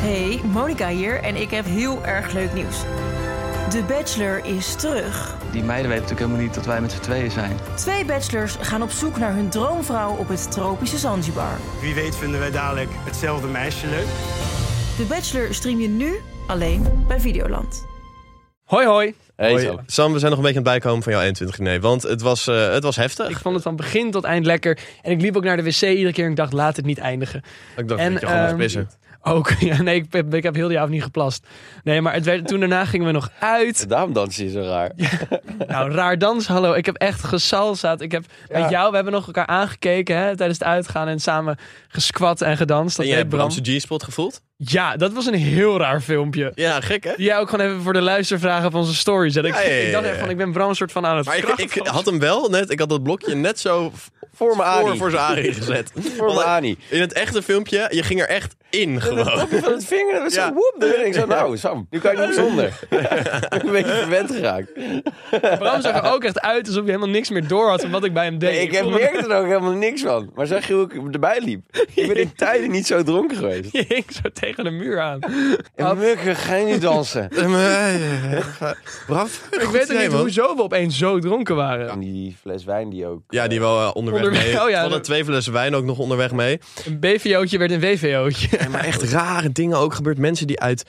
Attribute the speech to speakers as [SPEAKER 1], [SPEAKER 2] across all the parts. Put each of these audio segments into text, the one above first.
[SPEAKER 1] Hey, Monica hier en ik heb heel erg leuk nieuws. De Bachelor is terug.
[SPEAKER 2] Die meiden weten natuurlijk helemaal niet dat wij met z'n tweeën zijn.
[SPEAKER 1] Twee bachelors gaan op zoek naar hun droomvrouw op het tropische Zanzibar.
[SPEAKER 3] Wie weet vinden wij dadelijk hetzelfde meisje leuk.
[SPEAKER 1] De Bachelor stream je nu alleen bij Videoland.
[SPEAKER 4] Hoi hoi.
[SPEAKER 5] Hey,
[SPEAKER 4] Hoi.
[SPEAKER 5] Sam. Sam, we zijn nog een beetje aan het bijkomen van jouw 21 nee, want het was, eh, het was heftig.
[SPEAKER 4] Ik
[SPEAKER 5] Ik,
[SPEAKER 4] vond het van begin tot eind lekker. En ik liep ook naar de wc iedere keer en ik dacht, laat het niet eindigen.
[SPEAKER 5] dacht
[SPEAKER 4] en,
[SPEAKER 5] dat je gewoon
[SPEAKER 4] ehm,
[SPEAKER 5] was pissen.
[SPEAKER 4] Ook, ja, nee, ik, heb- ik heb heel die avond niet geplast. Nee, maar het werd, toen daarna gingen we nog uit.
[SPEAKER 6] Daarom dans je zo raar.
[SPEAKER 4] Nou, raar dans, hallo. Ik heb echt gesalsaat. Ik heb met jou, we hebben nog elkaar aangekeken hè, tijdens het uitgaan en samen gesquat en gedanst. Dat
[SPEAKER 5] En jij
[SPEAKER 4] deed
[SPEAKER 5] hebt
[SPEAKER 4] Bram.
[SPEAKER 5] Bramse G-spot gevoeld?
[SPEAKER 4] Ja, dat was een heel raar filmpje.
[SPEAKER 5] Ja, gek hè?
[SPEAKER 4] Die jij ook gewoon even voor de luistervragen van zijn stories. zet. Ik,
[SPEAKER 5] Ja, ja, ja,
[SPEAKER 4] ik dacht echt
[SPEAKER 5] ja.
[SPEAKER 4] van, ik ben Bram soort van aan het
[SPEAKER 5] Maar ik,
[SPEAKER 4] verkrachten.
[SPEAKER 5] ik had hem wel net, ik had dat blokje net zo v-
[SPEAKER 6] Voor mijn
[SPEAKER 5] voor,
[SPEAKER 6] Ani.
[SPEAKER 5] voor zijn arie gezet.
[SPEAKER 6] Voor mijn
[SPEAKER 5] Want eh,
[SPEAKER 6] Ani.
[SPEAKER 5] In het echte filmpje, je ging er echt in gewoon.
[SPEAKER 6] Van het vinger, dat was
[SPEAKER 5] Ja.
[SPEAKER 6] zo woep. Dan ben ik zo, nou Sam, nu kan je niet meer zonder. ik ben een beetje verwend geraakt.
[SPEAKER 4] Bram zag er ook echt uit alsof hij helemaal niks meer door had van wat ik bij hem deed.
[SPEAKER 6] ik heb
[SPEAKER 4] voelde me-
[SPEAKER 6] merkte er ook helemaal niks van. Maar zag je hoe ik erbij liep? Ik ben in tijden niet zo dronken geweest.
[SPEAKER 4] Je hing zo tegen de muur aan.
[SPEAKER 6] En mukken, ga je niet dansen?
[SPEAKER 5] Eh, Braf.
[SPEAKER 4] ik weet ook niet hoezo we opeens zo dronken waren.
[SPEAKER 6] En die fles wijn die ook...
[SPEAKER 5] Ja, die wel eh, onderweg,
[SPEAKER 4] Onderweg,
[SPEAKER 5] mee.
[SPEAKER 4] oh ja,
[SPEAKER 5] We hadden
[SPEAKER 4] dat-
[SPEAKER 5] twee flessen wijn ook nog onderweg mee.
[SPEAKER 4] Een BVO'tje werd een WVO'tje.
[SPEAKER 5] Maar echt rare dingen ook gebeurd. Mensen die uit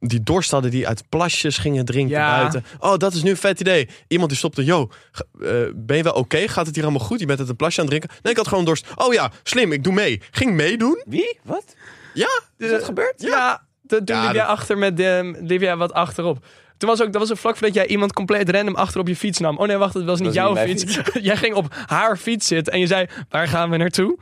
[SPEAKER 5] die dorst hadden, die uit plasjes gingen drinken
[SPEAKER 4] Ja.
[SPEAKER 5] buiten. Oh, dat is nu een vet idee. Iemand die stopte, yo, ge- eh, ben je wel oké? Gaat het hier allemaal goed? Je bent uit een plasje aan het drinken. Nee, ik had gewoon dorst. Oh ja, slim, ik doe mee. Ging meedoen?
[SPEAKER 6] Wie? Wat?
[SPEAKER 5] Ja.
[SPEAKER 6] Is dat gebeurd?
[SPEAKER 4] Ja, to- toen
[SPEAKER 5] Ja,
[SPEAKER 4] liep, jij
[SPEAKER 5] dat-
[SPEAKER 4] achter met de, liep jij wat achterop. Toen was ook, dat was een vlak voordat jij iemand compleet random achter op je fiets nam. Oh nee, wacht, het was niet
[SPEAKER 6] Dat was
[SPEAKER 4] jouw
[SPEAKER 6] niet mijn
[SPEAKER 4] fiets. jij ging op haar fiets zitten en je zei, waar gaan we naartoe?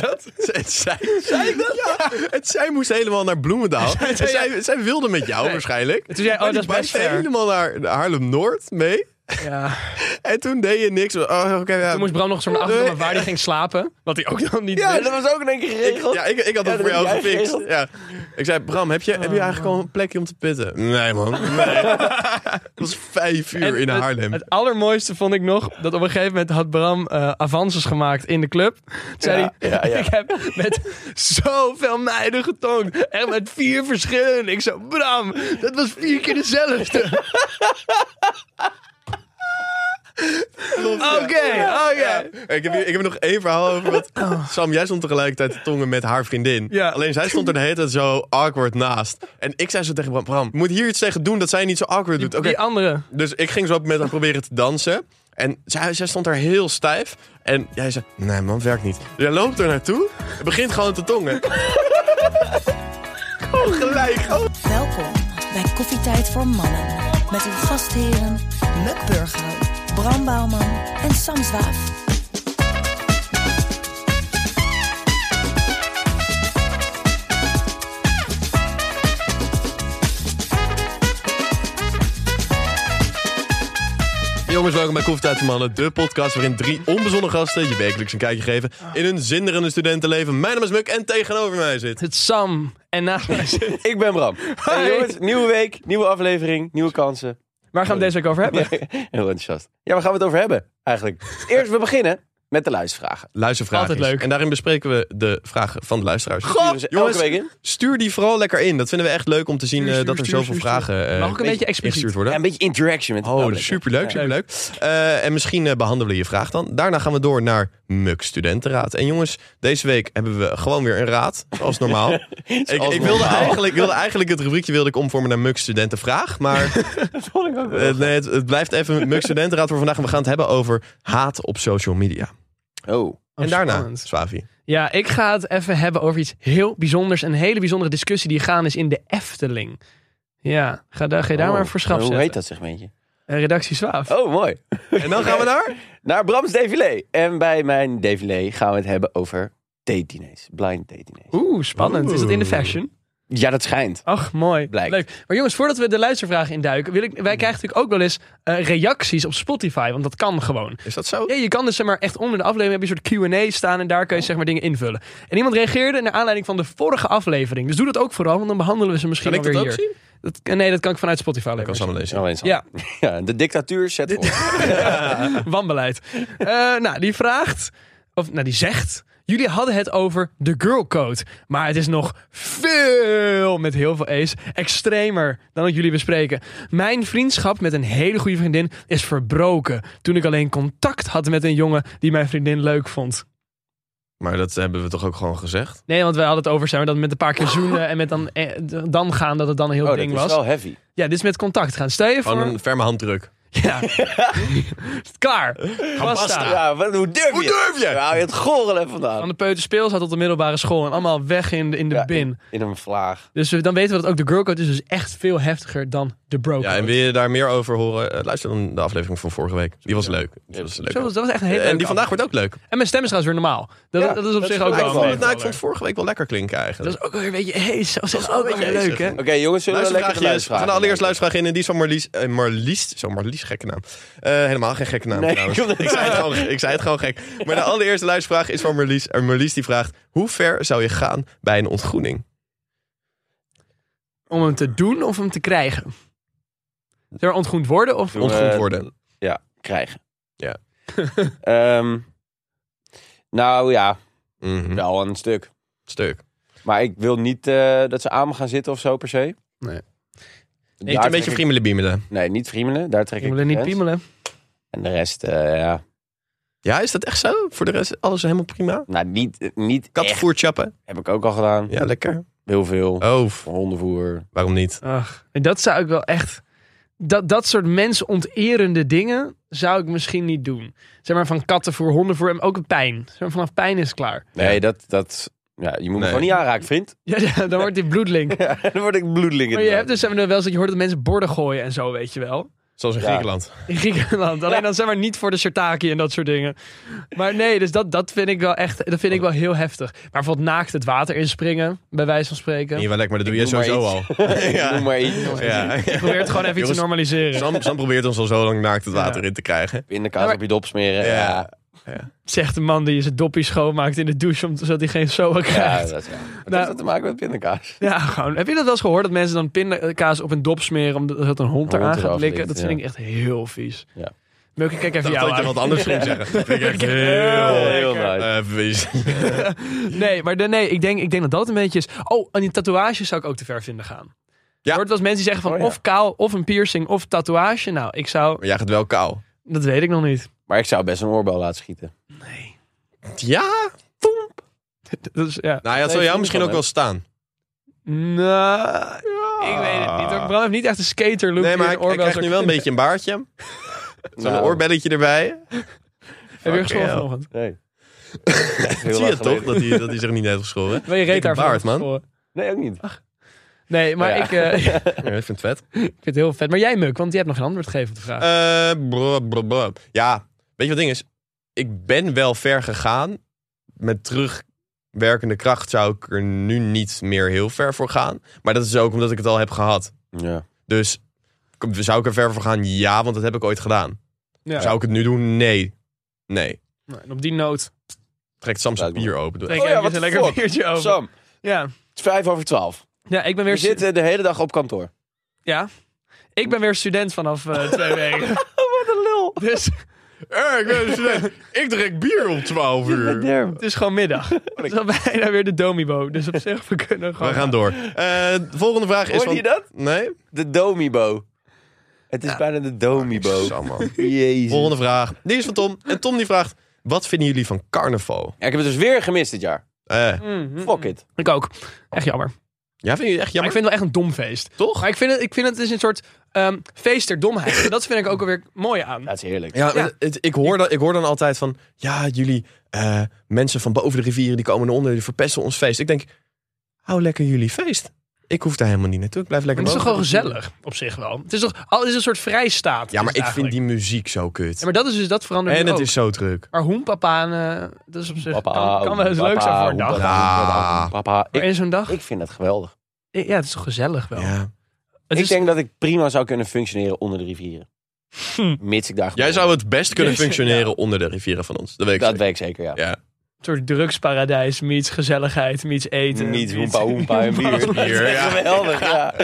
[SPEAKER 4] dat?
[SPEAKER 5] Het zij, zij, ja. het zij moest helemaal naar Bloemendaal. En zij, zij wilde met jou waarschijnlijk.
[SPEAKER 4] En toen zei je, oh,
[SPEAKER 5] Maar
[SPEAKER 4] dat
[SPEAKER 5] die
[SPEAKER 4] is best
[SPEAKER 5] bikte
[SPEAKER 4] fair.
[SPEAKER 5] helemaal naar Haarlem-Noord mee.
[SPEAKER 4] Ja.
[SPEAKER 5] En toen deed je niks. Oh, oké, ja.
[SPEAKER 4] Toen moest Bram nog zo'n achter
[SPEAKER 5] Nee.
[SPEAKER 4] waar hij ging slapen. Wat hij ook dan niet
[SPEAKER 6] Ja,
[SPEAKER 4] wist.
[SPEAKER 6] dat was ook in één keer geregeld.
[SPEAKER 5] Ja, dus ik, ik had
[SPEAKER 6] Ja,
[SPEAKER 5] het voor
[SPEAKER 6] dat
[SPEAKER 5] jou
[SPEAKER 6] heb jij
[SPEAKER 5] gefixt.
[SPEAKER 6] geregeld. Oh,
[SPEAKER 5] Ja. Ik zei, Bram, heb je, heb je eigenlijk al een plekje om te pitten? Nee, man. Nee. Het was vijf uur
[SPEAKER 4] En
[SPEAKER 5] in
[SPEAKER 4] het-
[SPEAKER 5] Haarlem.
[SPEAKER 4] Het, allermooiste vond ik nog dat op een gegeven moment had Bram eh, avances gemaakt in de club. Toen zei
[SPEAKER 6] Ja,
[SPEAKER 4] hij:
[SPEAKER 6] ja, ja.
[SPEAKER 4] Ik heb met zoveel meiden getonkt. Echt met vier verschillen. Ik zo: Bram, dat was vier keer dezelfde. Oké, oké.
[SPEAKER 5] ik, heb hier, ik heb nog één verhaal over. Wat,
[SPEAKER 6] Oh.
[SPEAKER 5] Sam, jij stond tegelijkertijd te tongen met haar vriendin.
[SPEAKER 4] Ja.
[SPEAKER 5] Alleen zij stond er de hele tijd zo awkward naast. En ik zei zo tegen Bram, Bram, je moet hier iets tegen doen dat zij niet zo awkward doet. Oké.
[SPEAKER 4] Die andere.
[SPEAKER 5] Dus ik ging zo met haar proberen te dansen. En zij, zij stond daar heel stijf. En jij zei, nee man, werkt niet. Dus jij loopt er naartoe en begint gewoon te tongen.
[SPEAKER 4] Oh,
[SPEAKER 5] gewoon gelijk. gewoon.
[SPEAKER 7] Welkom bij Koffietijd voor Mannen. Met uw gastheren Muk Burger, Bram Bouwman en Sam Zwaaf.
[SPEAKER 5] Jongens, welkom bij Koffietijd voor Mannen. De podcast waarin drie onbezonnen gasten je wekelijks een kijkje geven in hun zinderende studentenleven. Mijn naam is Muk en tegenover mij zit...
[SPEAKER 4] Het Sam. En naast mij zit-
[SPEAKER 6] Ik ben Bram.
[SPEAKER 4] Hoi.
[SPEAKER 6] En jongens, nieuwe week, nieuwe aflevering, nieuwe kansen.
[SPEAKER 4] Waar gaan we deze week over hebben?
[SPEAKER 6] Heel enthousiast. Ja, waar gaan we het over hebben eigenlijk? Eerst, we beginnen met de luistervragen.
[SPEAKER 5] Luistervragen.
[SPEAKER 4] Altijd leuk.
[SPEAKER 5] En daarin bespreken we de vragen van de luisteraars.
[SPEAKER 6] Sturen ze elke
[SPEAKER 5] jongens,
[SPEAKER 6] week in.
[SPEAKER 5] stuur die vooral lekker in. Dat vinden we echt leuk om te zien
[SPEAKER 4] Stuur,
[SPEAKER 5] eh,
[SPEAKER 4] stuur,
[SPEAKER 5] dat er
[SPEAKER 4] stuur,
[SPEAKER 5] zoveel
[SPEAKER 4] stuur,
[SPEAKER 5] vragen eh,
[SPEAKER 4] Mag ook een beetje expliciet.
[SPEAKER 5] ingestuurd worden.
[SPEAKER 6] Ja, een beetje interaction met het
[SPEAKER 5] Oh,
[SPEAKER 6] public.
[SPEAKER 5] superleuk,
[SPEAKER 6] Ja.
[SPEAKER 5] superleuk. Eh, en misschien eh, behandelen we je vraag dan. Daarna gaan we door naar MUK Studentenraad. En jongens, deze week hebben we gewoon weer een raad, zoals normaal. ik,
[SPEAKER 6] Zoals
[SPEAKER 5] ik wilde,
[SPEAKER 6] normaal.
[SPEAKER 5] eigenlijk, wilde eigenlijk het rubriekje wilde ik omvormen naar MUK Studentenvraag. Maar
[SPEAKER 6] Vond ik ook wel.
[SPEAKER 5] eh, nee, het, het blijft even MUK Studentenraad voor vandaag. En we gaan het hebben over haat op social media.
[SPEAKER 6] Oh,
[SPEAKER 5] en daarna,
[SPEAKER 4] spannend.
[SPEAKER 5] Swavi.
[SPEAKER 4] Ja, ik ga het even hebben over iets heel bijzonders. Een hele bijzondere discussie die gaan is in de Efteling. Ja, ga, daar, ga je daar
[SPEAKER 6] Oh.
[SPEAKER 4] maar voor schap
[SPEAKER 6] Hoe
[SPEAKER 4] zetten.
[SPEAKER 6] heet dat segmentje?
[SPEAKER 4] Eh, Redactie Zwaaf.
[SPEAKER 6] Oh, mooi.
[SPEAKER 5] En dan gaan we naar...
[SPEAKER 6] Naar Brams défilé. En bij mijn défilé gaan we het hebben over date diners. Blind date diners.
[SPEAKER 4] Oeh, spannend. Is dat in de
[SPEAKER 5] Oeh.
[SPEAKER 4] fashion?
[SPEAKER 6] Ja, dat schijnt.
[SPEAKER 4] Ach, mooi.
[SPEAKER 6] Blijkt.
[SPEAKER 4] Leuk. Maar jongens, voordat we de luistervragen induiken, wil ik, wij krijgen natuurlijk ook wel eens eh, reacties op Spotify, want dat kan gewoon.
[SPEAKER 5] Is dat zo?
[SPEAKER 4] Ja, je kan dus zeg maar echt onder de aflevering heb je een soort Q&A staan en daar kan je zeg maar dingen invullen. En iemand reageerde naar aanleiding van de vorige aflevering. Dus doe dat ook vooral, want dan behandelen we ze misschien
[SPEAKER 5] Kan ik
[SPEAKER 4] alweer
[SPEAKER 5] dat ook
[SPEAKER 4] hier.
[SPEAKER 5] zien?
[SPEAKER 4] Dat, nee, dat kan ik vanuit Spotify alleen
[SPEAKER 5] Ik kan
[SPEAKER 4] maar
[SPEAKER 5] ze allemaal lezen.
[SPEAKER 6] Alleen zo.
[SPEAKER 4] Ja.
[SPEAKER 6] Ja, de dictatuur zet op. Oh,
[SPEAKER 4] Wanbeleid. Eh, nou, die vraagt, of nou, die zegt. Jullie hadden het over de girl code. Maar het is nog veel, met heel veel A's, extremer dan dat jullie bespreken. Mijn vriendschap met een hele goede vriendin is verbroken. Toen ik alleen contact had met een jongen die mijn vriendin leuk vond.
[SPEAKER 5] Maar dat hebben we toch ook gewoon gezegd?
[SPEAKER 4] Nee, want wij hadden het over zeg maar, dat met een paar keer zoenen en met dan, eh, dan gaan dat het dan een heel
[SPEAKER 6] Oh, dat
[SPEAKER 4] ding
[SPEAKER 6] is
[SPEAKER 4] was.
[SPEAKER 6] wel Oh, heavy.
[SPEAKER 4] Ja, dit is met contact gaan. Stel je voor...
[SPEAKER 5] Gewoon een ferme handdruk.
[SPEAKER 4] Ja. Klaar. Basta.
[SPEAKER 6] Ja, wat, hoe durf
[SPEAKER 5] Hoe
[SPEAKER 6] je?
[SPEAKER 5] durf je?
[SPEAKER 6] Ja, hou je het gorelen vandaan.
[SPEAKER 4] Van de peuterspeels had tot de middelbare school. En allemaal weg in de, in de
[SPEAKER 6] Ja,
[SPEAKER 4] bin.
[SPEAKER 6] In een vlaag.
[SPEAKER 4] Dus we- dan weten we dat ook de girlcode is dus echt veel heftiger dan de brocode.
[SPEAKER 5] Ja, en wil je daar meer over horen? Eh, Luister dan de aflevering van vorige week. Die was leuk. Die was leuk.
[SPEAKER 4] Zo, dat was echt een hele
[SPEAKER 5] En
[SPEAKER 4] leuke
[SPEAKER 5] die vandaag wordt ook leuk.
[SPEAKER 4] aflevering. En mijn stem is trouwens weer normaal. Dat,
[SPEAKER 6] Ja,
[SPEAKER 4] dat is op
[SPEAKER 6] dat
[SPEAKER 4] zich
[SPEAKER 6] is
[SPEAKER 4] ook
[SPEAKER 6] wel
[SPEAKER 5] Nou, ik,
[SPEAKER 4] wel
[SPEAKER 5] vond het,
[SPEAKER 4] een
[SPEAKER 5] nou, ik vond het vorige week wel lekker klinken
[SPEAKER 4] Dat
[SPEAKER 5] eigenlijk.
[SPEAKER 4] is ook weer een beetje... Hey, zo, dat is ook wel
[SPEAKER 5] een beetje
[SPEAKER 4] leuk,
[SPEAKER 5] hees,
[SPEAKER 4] hè?
[SPEAKER 5] hè?
[SPEAKER 6] Oké, jongens, zullen we lekker
[SPEAKER 5] Luistervraagjes. We gaan
[SPEAKER 6] geluidsvragen?
[SPEAKER 5] allereerst luistervraag in. En die is van Marlies. eh, Marlies. Zo, Marlies, gekke naam. Eh, helemaal geen gekke naam
[SPEAKER 6] Nee,
[SPEAKER 5] trouwens.
[SPEAKER 6] ik wilde
[SPEAKER 5] Ik zei, het gewoon, ik zei het gewoon gek. Maar de allereerste luistervraag is van Marlies. En Marlies die vraagt, hoe ver zou je gaan bij een ontgroening?
[SPEAKER 4] Om hem te doen of hem te krijgen? Zou er ontgroend worden of...
[SPEAKER 6] Doe-
[SPEAKER 5] Ontgroend
[SPEAKER 6] Eh,
[SPEAKER 5] worden.
[SPEAKER 6] Ja, krijgen.
[SPEAKER 5] Ja.
[SPEAKER 6] Ehm, nou ja,
[SPEAKER 5] Mhm.
[SPEAKER 6] wel een stuk.
[SPEAKER 5] Stuk.
[SPEAKER 6] Maar ik wil niet eh, dat ze aan me gaan zitten of zo per se.
[SPEAKER 4] Nee.
[SPEAKER 5] Niet een beetje
[SPEAKER 6] vrienden.
[SPEAKER 5] friemelen biemelen.
[SPEAKER 6] Nee, niet vrienden. Daar trek
[SPEAKER 4] Ik
[SPEAKER 6] ik
[SPEAKER 4] wil er
[SPEAKER 6] de
[SPEAKER 4] niet
[SPEAKER 6] grens.
[SPEAKER 4] piemelen.
[SPEAKER 6] En de rest, eh, ja.
[SPEAKER 5] Ja, is dat echt zo? Voor de rest alles helemaal prima?
[SPEAKER 6] Nou, niet, niet echt.
[SPEAKER 5] Kattenvoer chappen?
[SPEAKER 6] Heb ik ook al gedaan.
[SPEAKER 5] Ja, lekker.
[SPEAKER 6] Heel veel.
[SPEAKER 5] Oh, f-
[SPEAKER 6] Hondenvoer.
[SPEAKER 5] waarom niet?
[SPEAKER 4] Ach, en dat zou ik wel echt. Dat, dat soort mensonterende dingen zou ik misschien niet doen. Zeg maar van kattenvoer, hondenvoer en ook een pijn. Zeg maar vanaf pijn is het klaar.
[SPEAKER 6] Nee, dat... dat ja, je moet me
[SPEAKER 5] Nee.
[SPEAKER 6] gewoon niet aanraken, vriend.
[SPEAKER 4] Ja, ja, dan wordt die bloedlink.
[SPEAKER 6] Dan word ik bloedling.
[SPEAKER 4] Maar je hebt
[SPEAKER 6] inderdaad.
[SPEAKER 4] dus zeg maar, wel eens dat je hoort dat mensen borden gooien en zo, weet je wel.
[SPEAKER 5] Zoals in
[SPEAKER 6] Ja.
[SPEAKER 5] Griekenland.
[SPEAKER 4] In Griekenland. Alleen dan zeg maar niet voor de shirtaki en dat soort dingen. Maar nee, dus dat, dat vind ik wel echt, dat vind ik wel heel heftig. Maar bijvoorbeeld naakt het water inspringen, bij wijze van spreken.
[SPEAKER 5] Ja, wel lekker, maar dat doe
[SPEAKER 6] Ik
[SPEAKER 5] je
[SPEAKER 6] doe
[SPEAKER 5] sowieso al.
[SPEAKER 6] maar Noem maar iets.
[SPEAKER 5] dus- Ja.
[SPEAKER 4] Probeer het gewoon even iets te
[SPEAKER 5] Jongens,
[SPEAKER 4] normaliseren.
[SPEAKER 5] Sam, Sam probeert ons al zo lang naakt het water
[SPEAKER 4] Ja.
[SPEAKER 5] in te krijgen.
[SPEAKER 6] In de
[SPEAKER 4] Ja,
[SPEAKER 6] kaas
[SPEAKER 4] maar-
[SPEAKER 6] op je dop smeren.
[SPEAKER 5] Ja.
[SPEAKER 6] Ja,
[SPEAKER 4] Zegt de man die zijn doppie schoonmaakt in de douche, om- zodat hij geen soa krijgt.
[SPEAKER 6] ja, dat is ja. Wat
[SPEAKER 4] Nou-
[SPEAKER 6] heeft dat te maken met pindakaas?
[SPEAKER 4] Ja, gewoon. Heb je dat wel eens gehoord dat mensen dan pindakaas op een dop smeren omdat een hond
[SPEAKER 6] Een hond
[SPEAKER 4] eraan
[SPEAKER 6] eraf
[SPEAKER 4] gaat likken?
[SPEAKER 6] likt,
[SPEAKER 4] Dat vind
[SPEAKER 6] ja.
[SPEAKER 4] ik echt heel vies.
[SPEAKER 6] Ja.
[SPEAKER 4] Meuken, kijk even
[SPEAKER 5] Ik dacht
[SPEAKER 4] jou
[SPEAKER 5] dat je
[SPEAKER 4] aan.
[SPEAKER 5] wat anders ging zeggen. Dat vind ik echt
[SPEAKER 4] Heel
[SPEAKER 5] heel...
[SPEAKER 4] lekker.
[SPEAKER 5] eh, vies.
[SPEAKER 4] Nee, maar de- nee, ik denk, ik denk dat dat een beetje is. Oh, en die tatoeages zou ik ook te ver vinden gaan. Ja. Hoort wel eens mensen die zeggen van
[SPEAKER 6] Oh, ja.
[SPEAKER 4] of kaal, of een piercing, of tatoeage. Nou, ik zou...
[SPEAKER 5] Maar jij gaat wel kou.
[SPEAKER 4] Dat weet ik nog niet.
[SPEAKER 6] Maar ik zou best een oorbel laten schieten.
[SPEAKER 4] Nee.
[SPEAKER 5] Ja?
[SPEAKER 4] Dat is, ja.
[SPEAKER 5] Nou ja, dat zou jou misschien ook wel staan.
[SPEAKER 4] Nou, ik weet het niet. hoor. Bram heeft niet echt een skater look.
[SPEAKER 5] Nee, maar
[SPEAKER 4] die
[SPEAKER 5] ik,
[SPEAKER 4] een
[SPEAKER 5] ik
[SPEAKER 4] oorbel
[SPEAKER 5] krijg
[SPEAKER 4] zou
[SPEAKER 5] nu wel
[SPEAKER 4] kunnen.
[SPEAKER 5] een beetje een baardje. Zo'n
[SPEAKER 6] Nou.
[SPEAKER 5] oorbelletje erbij.
[SPEAKER 4] Heb je
[SPEAKER 5] Fucking
[SPEAKER 4] geschoren
[SPEAKER 5] hell.
[SPEAKER 4] vanochtend?
[SPEAKER 6] Nee.
[SPEAKER 5] Zie je toch, dat hij, dat hij zich niet heeft geschoren?
[SPEAKER 4] Wil je reet
[SPEAKER 5] eh, Dikke
[SPEAKER 4] daarvan
[SPEAKER 5] baard, man.
[SPEAKER 4] geschoren?
[SPEAKER 6] Nee, ook niet.
[SPEAKER 4] Nee, maar
[SPEAKER 6] Ja.
[SPEAKER 4] ik... eh,
[SPEAKER 5] Ja, ik vind het vet.
[SPEAKER 4] Ik vind het heel vet. Maar jij, Muk, want je hebt nog geen antwoord gegeven op de vraag.
[SPEAKER 5] Eh, bro, bro, bro. Ja, weet je wat het ding is? Ik ben wel ver gegaan. Met terugwerkende kracht zou ik er nu niet meer heel ver voor gaan. Maar dat is ook omdat ik het al heb gehad.
[SPEAKER 6] Ja.
[SPEAKER 5] Dus k- zou ik er ver voor gaan? Ja, want dat heb ik ooit gedaan.
[SPEAKER 4] Ja.
[SPEAKER 5] Zou ik het nu doen? Nee. Nee.
[SPEAKER 4] Nou, en op die noot
[SPEAKER 5] Trekt Sam zijn bier open. Doe-
[SPEAKER 4] trek
[SPEAKER 6] Oh
[SPEAKER 4] ik
[SPEAKER 6] ja,
[SPEAKER 4] even
[SPEAKER 6] what
[SPEAKER 4] een
[SPEAKER 6] the
[SPEAKER 4] lekker
[SPEAKER 6] fuck?
[SPEAKER 4] biertje over.
[SPEAKER 6] Sam, het
[SPEAKER 4] Ja.
[SPEAKER 6] is vijf over twaalf.
[SPEAKER 4] ja, ik ben
[SPEAKER 6] We
[SPEAKER 4] weer, stu-
[SPEAKER 6] zitten de hele dag op kantoor.
[SPEAKER 4] ja. ik ben weer student vanaf eh, twee weken. Wat een lul. Dus
[SPEAKER 5] Eh, ik, ben een student. ik drink bier om 12 uur.
[SPEAKER 4] het is gewoon middag. Het is al bijna weer de domibo. Dus op zich, we kunnen gewoon...
[SPEAKER 5] We gaan door. Eh, de volgende vraag is
[SPEAKER 6] Hoorde
[SPEAKER 5] van...
[SPEAKER 6] je dat?
[SPEAKER 5] Nee?
[SPEAKER 6] De domibo. Het is bijna de domibo.
[SPEAKER 5] Sam, man.
[SPEAKER 6] Jezus.
[SPEAKER 5] Volgende vraag. Die is van Tom. En Tom die vraagt... Wat vinden jullie van carnaval?
[SPEAKER 6] Ja, ik heb het dus weer gemist dit jaar.
[SPEAKER 5] Eh,
[SPEAKER 4] Mhm.
[SPEAKER 6] Fuck it.
[SPEAKER 4] Ik ook. Echt jammer.
[SPEAKER 5] ja, vind je het echt
[SPEAKER 4] Maar
[SPEAKER 5] jammer?
[SPEAKER 4] ik vind het wel echt een dom feest.
[SPEAKER 5] Toch?
[SPEAKER 4] Maar ik vind het, ik vind het is een soort ehm, feest der domheid. En dat vind ik ook alweer mooi aan.
[SPEAKER 6] Dat is heerlijk.
[SPEAKER 5] Ja,
[SPEAKER 4] Ja.
[SPEAKER 5] het- ik, hoor dan, ik hoor dan altijd van... Ja, jullie eh, mensen van boven de rivieren... die komen naar onder, die verpesten ons feest. Ik denk, hou lekker jullie feest. Ik hoef daar helemaal niet naartoe. Ik blijf lekker
[SPEAKER 4] Maar het is toch
[SPEAKER 5] boven
[SPEAKER 4] gewoon
[SPEAKER 5] de rivieren.
[SPEAKER 4] gezellig op zich wel. Het is toch al het is een soort vrijstaat.
[SPEAKER 5] Ja,
[SPEAKER 4] is
[SPEAKER 5] maar
[SPEAKER 4] het
[SPEAKER 5] ik vind
[SPEAKER 4] eigenlijk.
[SPEAKER 5] die muziek zo kut.
[SPEAKER 4] Ja, maar dat is dus dat verandert
[SPEAKER 5] en
[SPEAKER 4] nu
[SPEAKER 5] het
[SPEAKER 4] ook.
[SPEAKER 5] is zo druk.
[SPEAKER 4] Maar hoenpapa, eh, dat is op zich
[SPEAKER 6] Papa, oh,
[SPEAKER 4] kan, kan wel eens leuk zijn voor een dag.
[SPEAKER 5] hoenpapa.
[SPEAKER 6] Papa,
[SPEAKER 5] Ja.
[SPEAKER 6] papa.
[SPEAKER 4] Maar
[SPEAKER 6] Ik,
[SPEAKER 4] in zo'n dag,
[SPEAKER 6] ik vind dat geweldig.
[SPEAKER 4] ja, het is toch gezellig wel.
[SPEAKER 5] Ja.
[SPEAKER 4] Het
[SPEAKER 6] ik
[SPEAKER 4] is,
[SPEAKER 6] denk dat ik prima zou kunnen functioneren onder de rivieren.
[SPEAKER 4] Hm.
[SPEAKER 6] Mits ik daar
[SPEAKER 5] Jij
[SPEAKER 6] geboren
[SPEAKER 5] zou het best kunnen
[SPEAKER 4] Ja.
[SPEAKER 5] functioneren onder de rivieren van ons. Dat weet ik
[SPEAKER 6] ben. Dat
[SPEAKER 5] zeker.
[SPEAKER 6] weet ik zeker, ja.
[SPEAKER 5] Ja.
[SPEAKER 4] een soort drugsparadijs, meets gezelligheid, meets eten.
[SPEAKER 6] Niet
[SPEAKER 4] meets-
[SPEAKER 6] hoempa hoempa en bier.
[SPEAKER 5] bier, ja.
[SPEAKER 6] Geweldig, ja.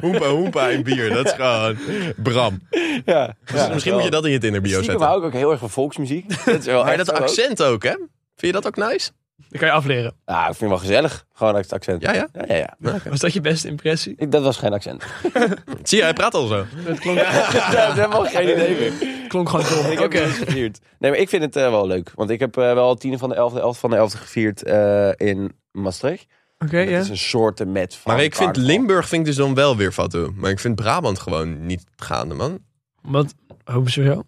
[SPEAKER 5] Hoempa, hoempa en bier. Dat is gewoon Bram.
[SPEAKER 6] ja.
[SPEAKER 5] Dus misschien moet je dat in je Tinderbio
[SPEAKER 6] Stiekem
[SPEAKER 5] zetten.
[SPEAKER 6] hou ik ook heel erg van volksmuziek. Dat is wel
[SPEAKER 5] Maar
[SPEAKER 6] echt
[SPEAKER 5] dat
[SPEAKER 6] zo ook.
[SPEAKER 5] accent ook, hè? Vind je dat ook nice?
[SPEAKER 4] Dat kan je afleren.
[SPEAKER 6] Ah, ik vind hem wel gezellig. Gewoon uit het accent.
[SPEAKER 5] Ja, ja.
[SPEAKER 6] Ja, ja, ja.
[SPEAKER 4] Was dat je beste impressie?
[SPEAKER 6] Ik- Dat was geen accent.
[SPEAKER 5] Zie je, hij praat al zo.
[SPEAKER 4] Het klonk,
[SPEAKER 6] Ja, dat hebben we geen idee meer.
[SPEAKER 4] klonk gewoon dom.
[SPEAKER 6] Ik
[SPEAKER 4] Oké.
[SPEAKER 6] heb het gevierd. Nee, maar ik vind het eh, wel leuk. Want ik heb eh, wel tien van de elfde, elfde van de elfde gevierd eh, in Maastricht.
[SPEAKER 4] Oké,
[SPEAKER 6] Dat
[SPEAKER 4] ja.
[SPEAKER 6] is een soorten met van
[SPEAKER 5] Maar ik vind
[SPEAKER 6] carnaval.
[SPEAKER 5] Limburg vind ik dus dan wel weer fatu. Maar ik vind Brabant gewoon niet gaande, man.
[SPEAKER 4] Wat? Hoezo?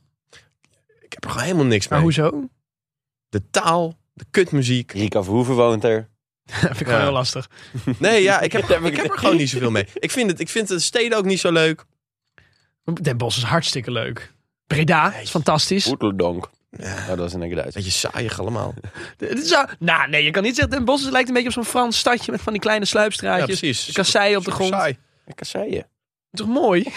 [SPEAKER 5] Ik heb er gewoon helemaal niks
[SPEAKER 4] Maar
[SPEAKER 5] mee.
[SPEAKER 4] Ah, hoezo?
[SPEAKER 5] De taal, de kutmuziek.
[SPEAKER 6] Rika Verhoeven woont er.
[SPEAKER 4] vind ik gewoon
[SPEAKER 5] Ja.
[SPEAKER 4] heel lastig.
[SPEAKER 5] Nee, ja, ik heb,
[SPEAKER 6] Dat heb ik
[SPEAKER 5] ik heb er
[SPEAKER 6] niet.
[SPEAKER 5] gewoon niet zoveel mee. Ik vind, het, ik vind de steden ook niet zo leuk.
[SPEAKER 4] Den Bosch is hartstikke leek. Breda is fantastisch.
[SPEAKER 6] Poedeldonk. Oh, dat is in één keer Duits.
[SPEAKER 5] Beetje saaiig allemaal.
[SPEAKER 4] Het is zo- Nou, nee, je kan niet zeggen. Den Bosch lijkt een beetje op zo'n Frans stadje met van die kleine
[SPEAKER 5] Ja,
[SPEAKER 4] sluipstraatjes.
[SPEAKER 5] precies.
[SPEAKER 4] kasseien op de
[SPEAKER 5] Super
[SPEAKER 4] grond.
[SPEAKER 5] saai.
[SPEAKER 6] Ik zei je.
[SPEAKER 4] Toch mooi?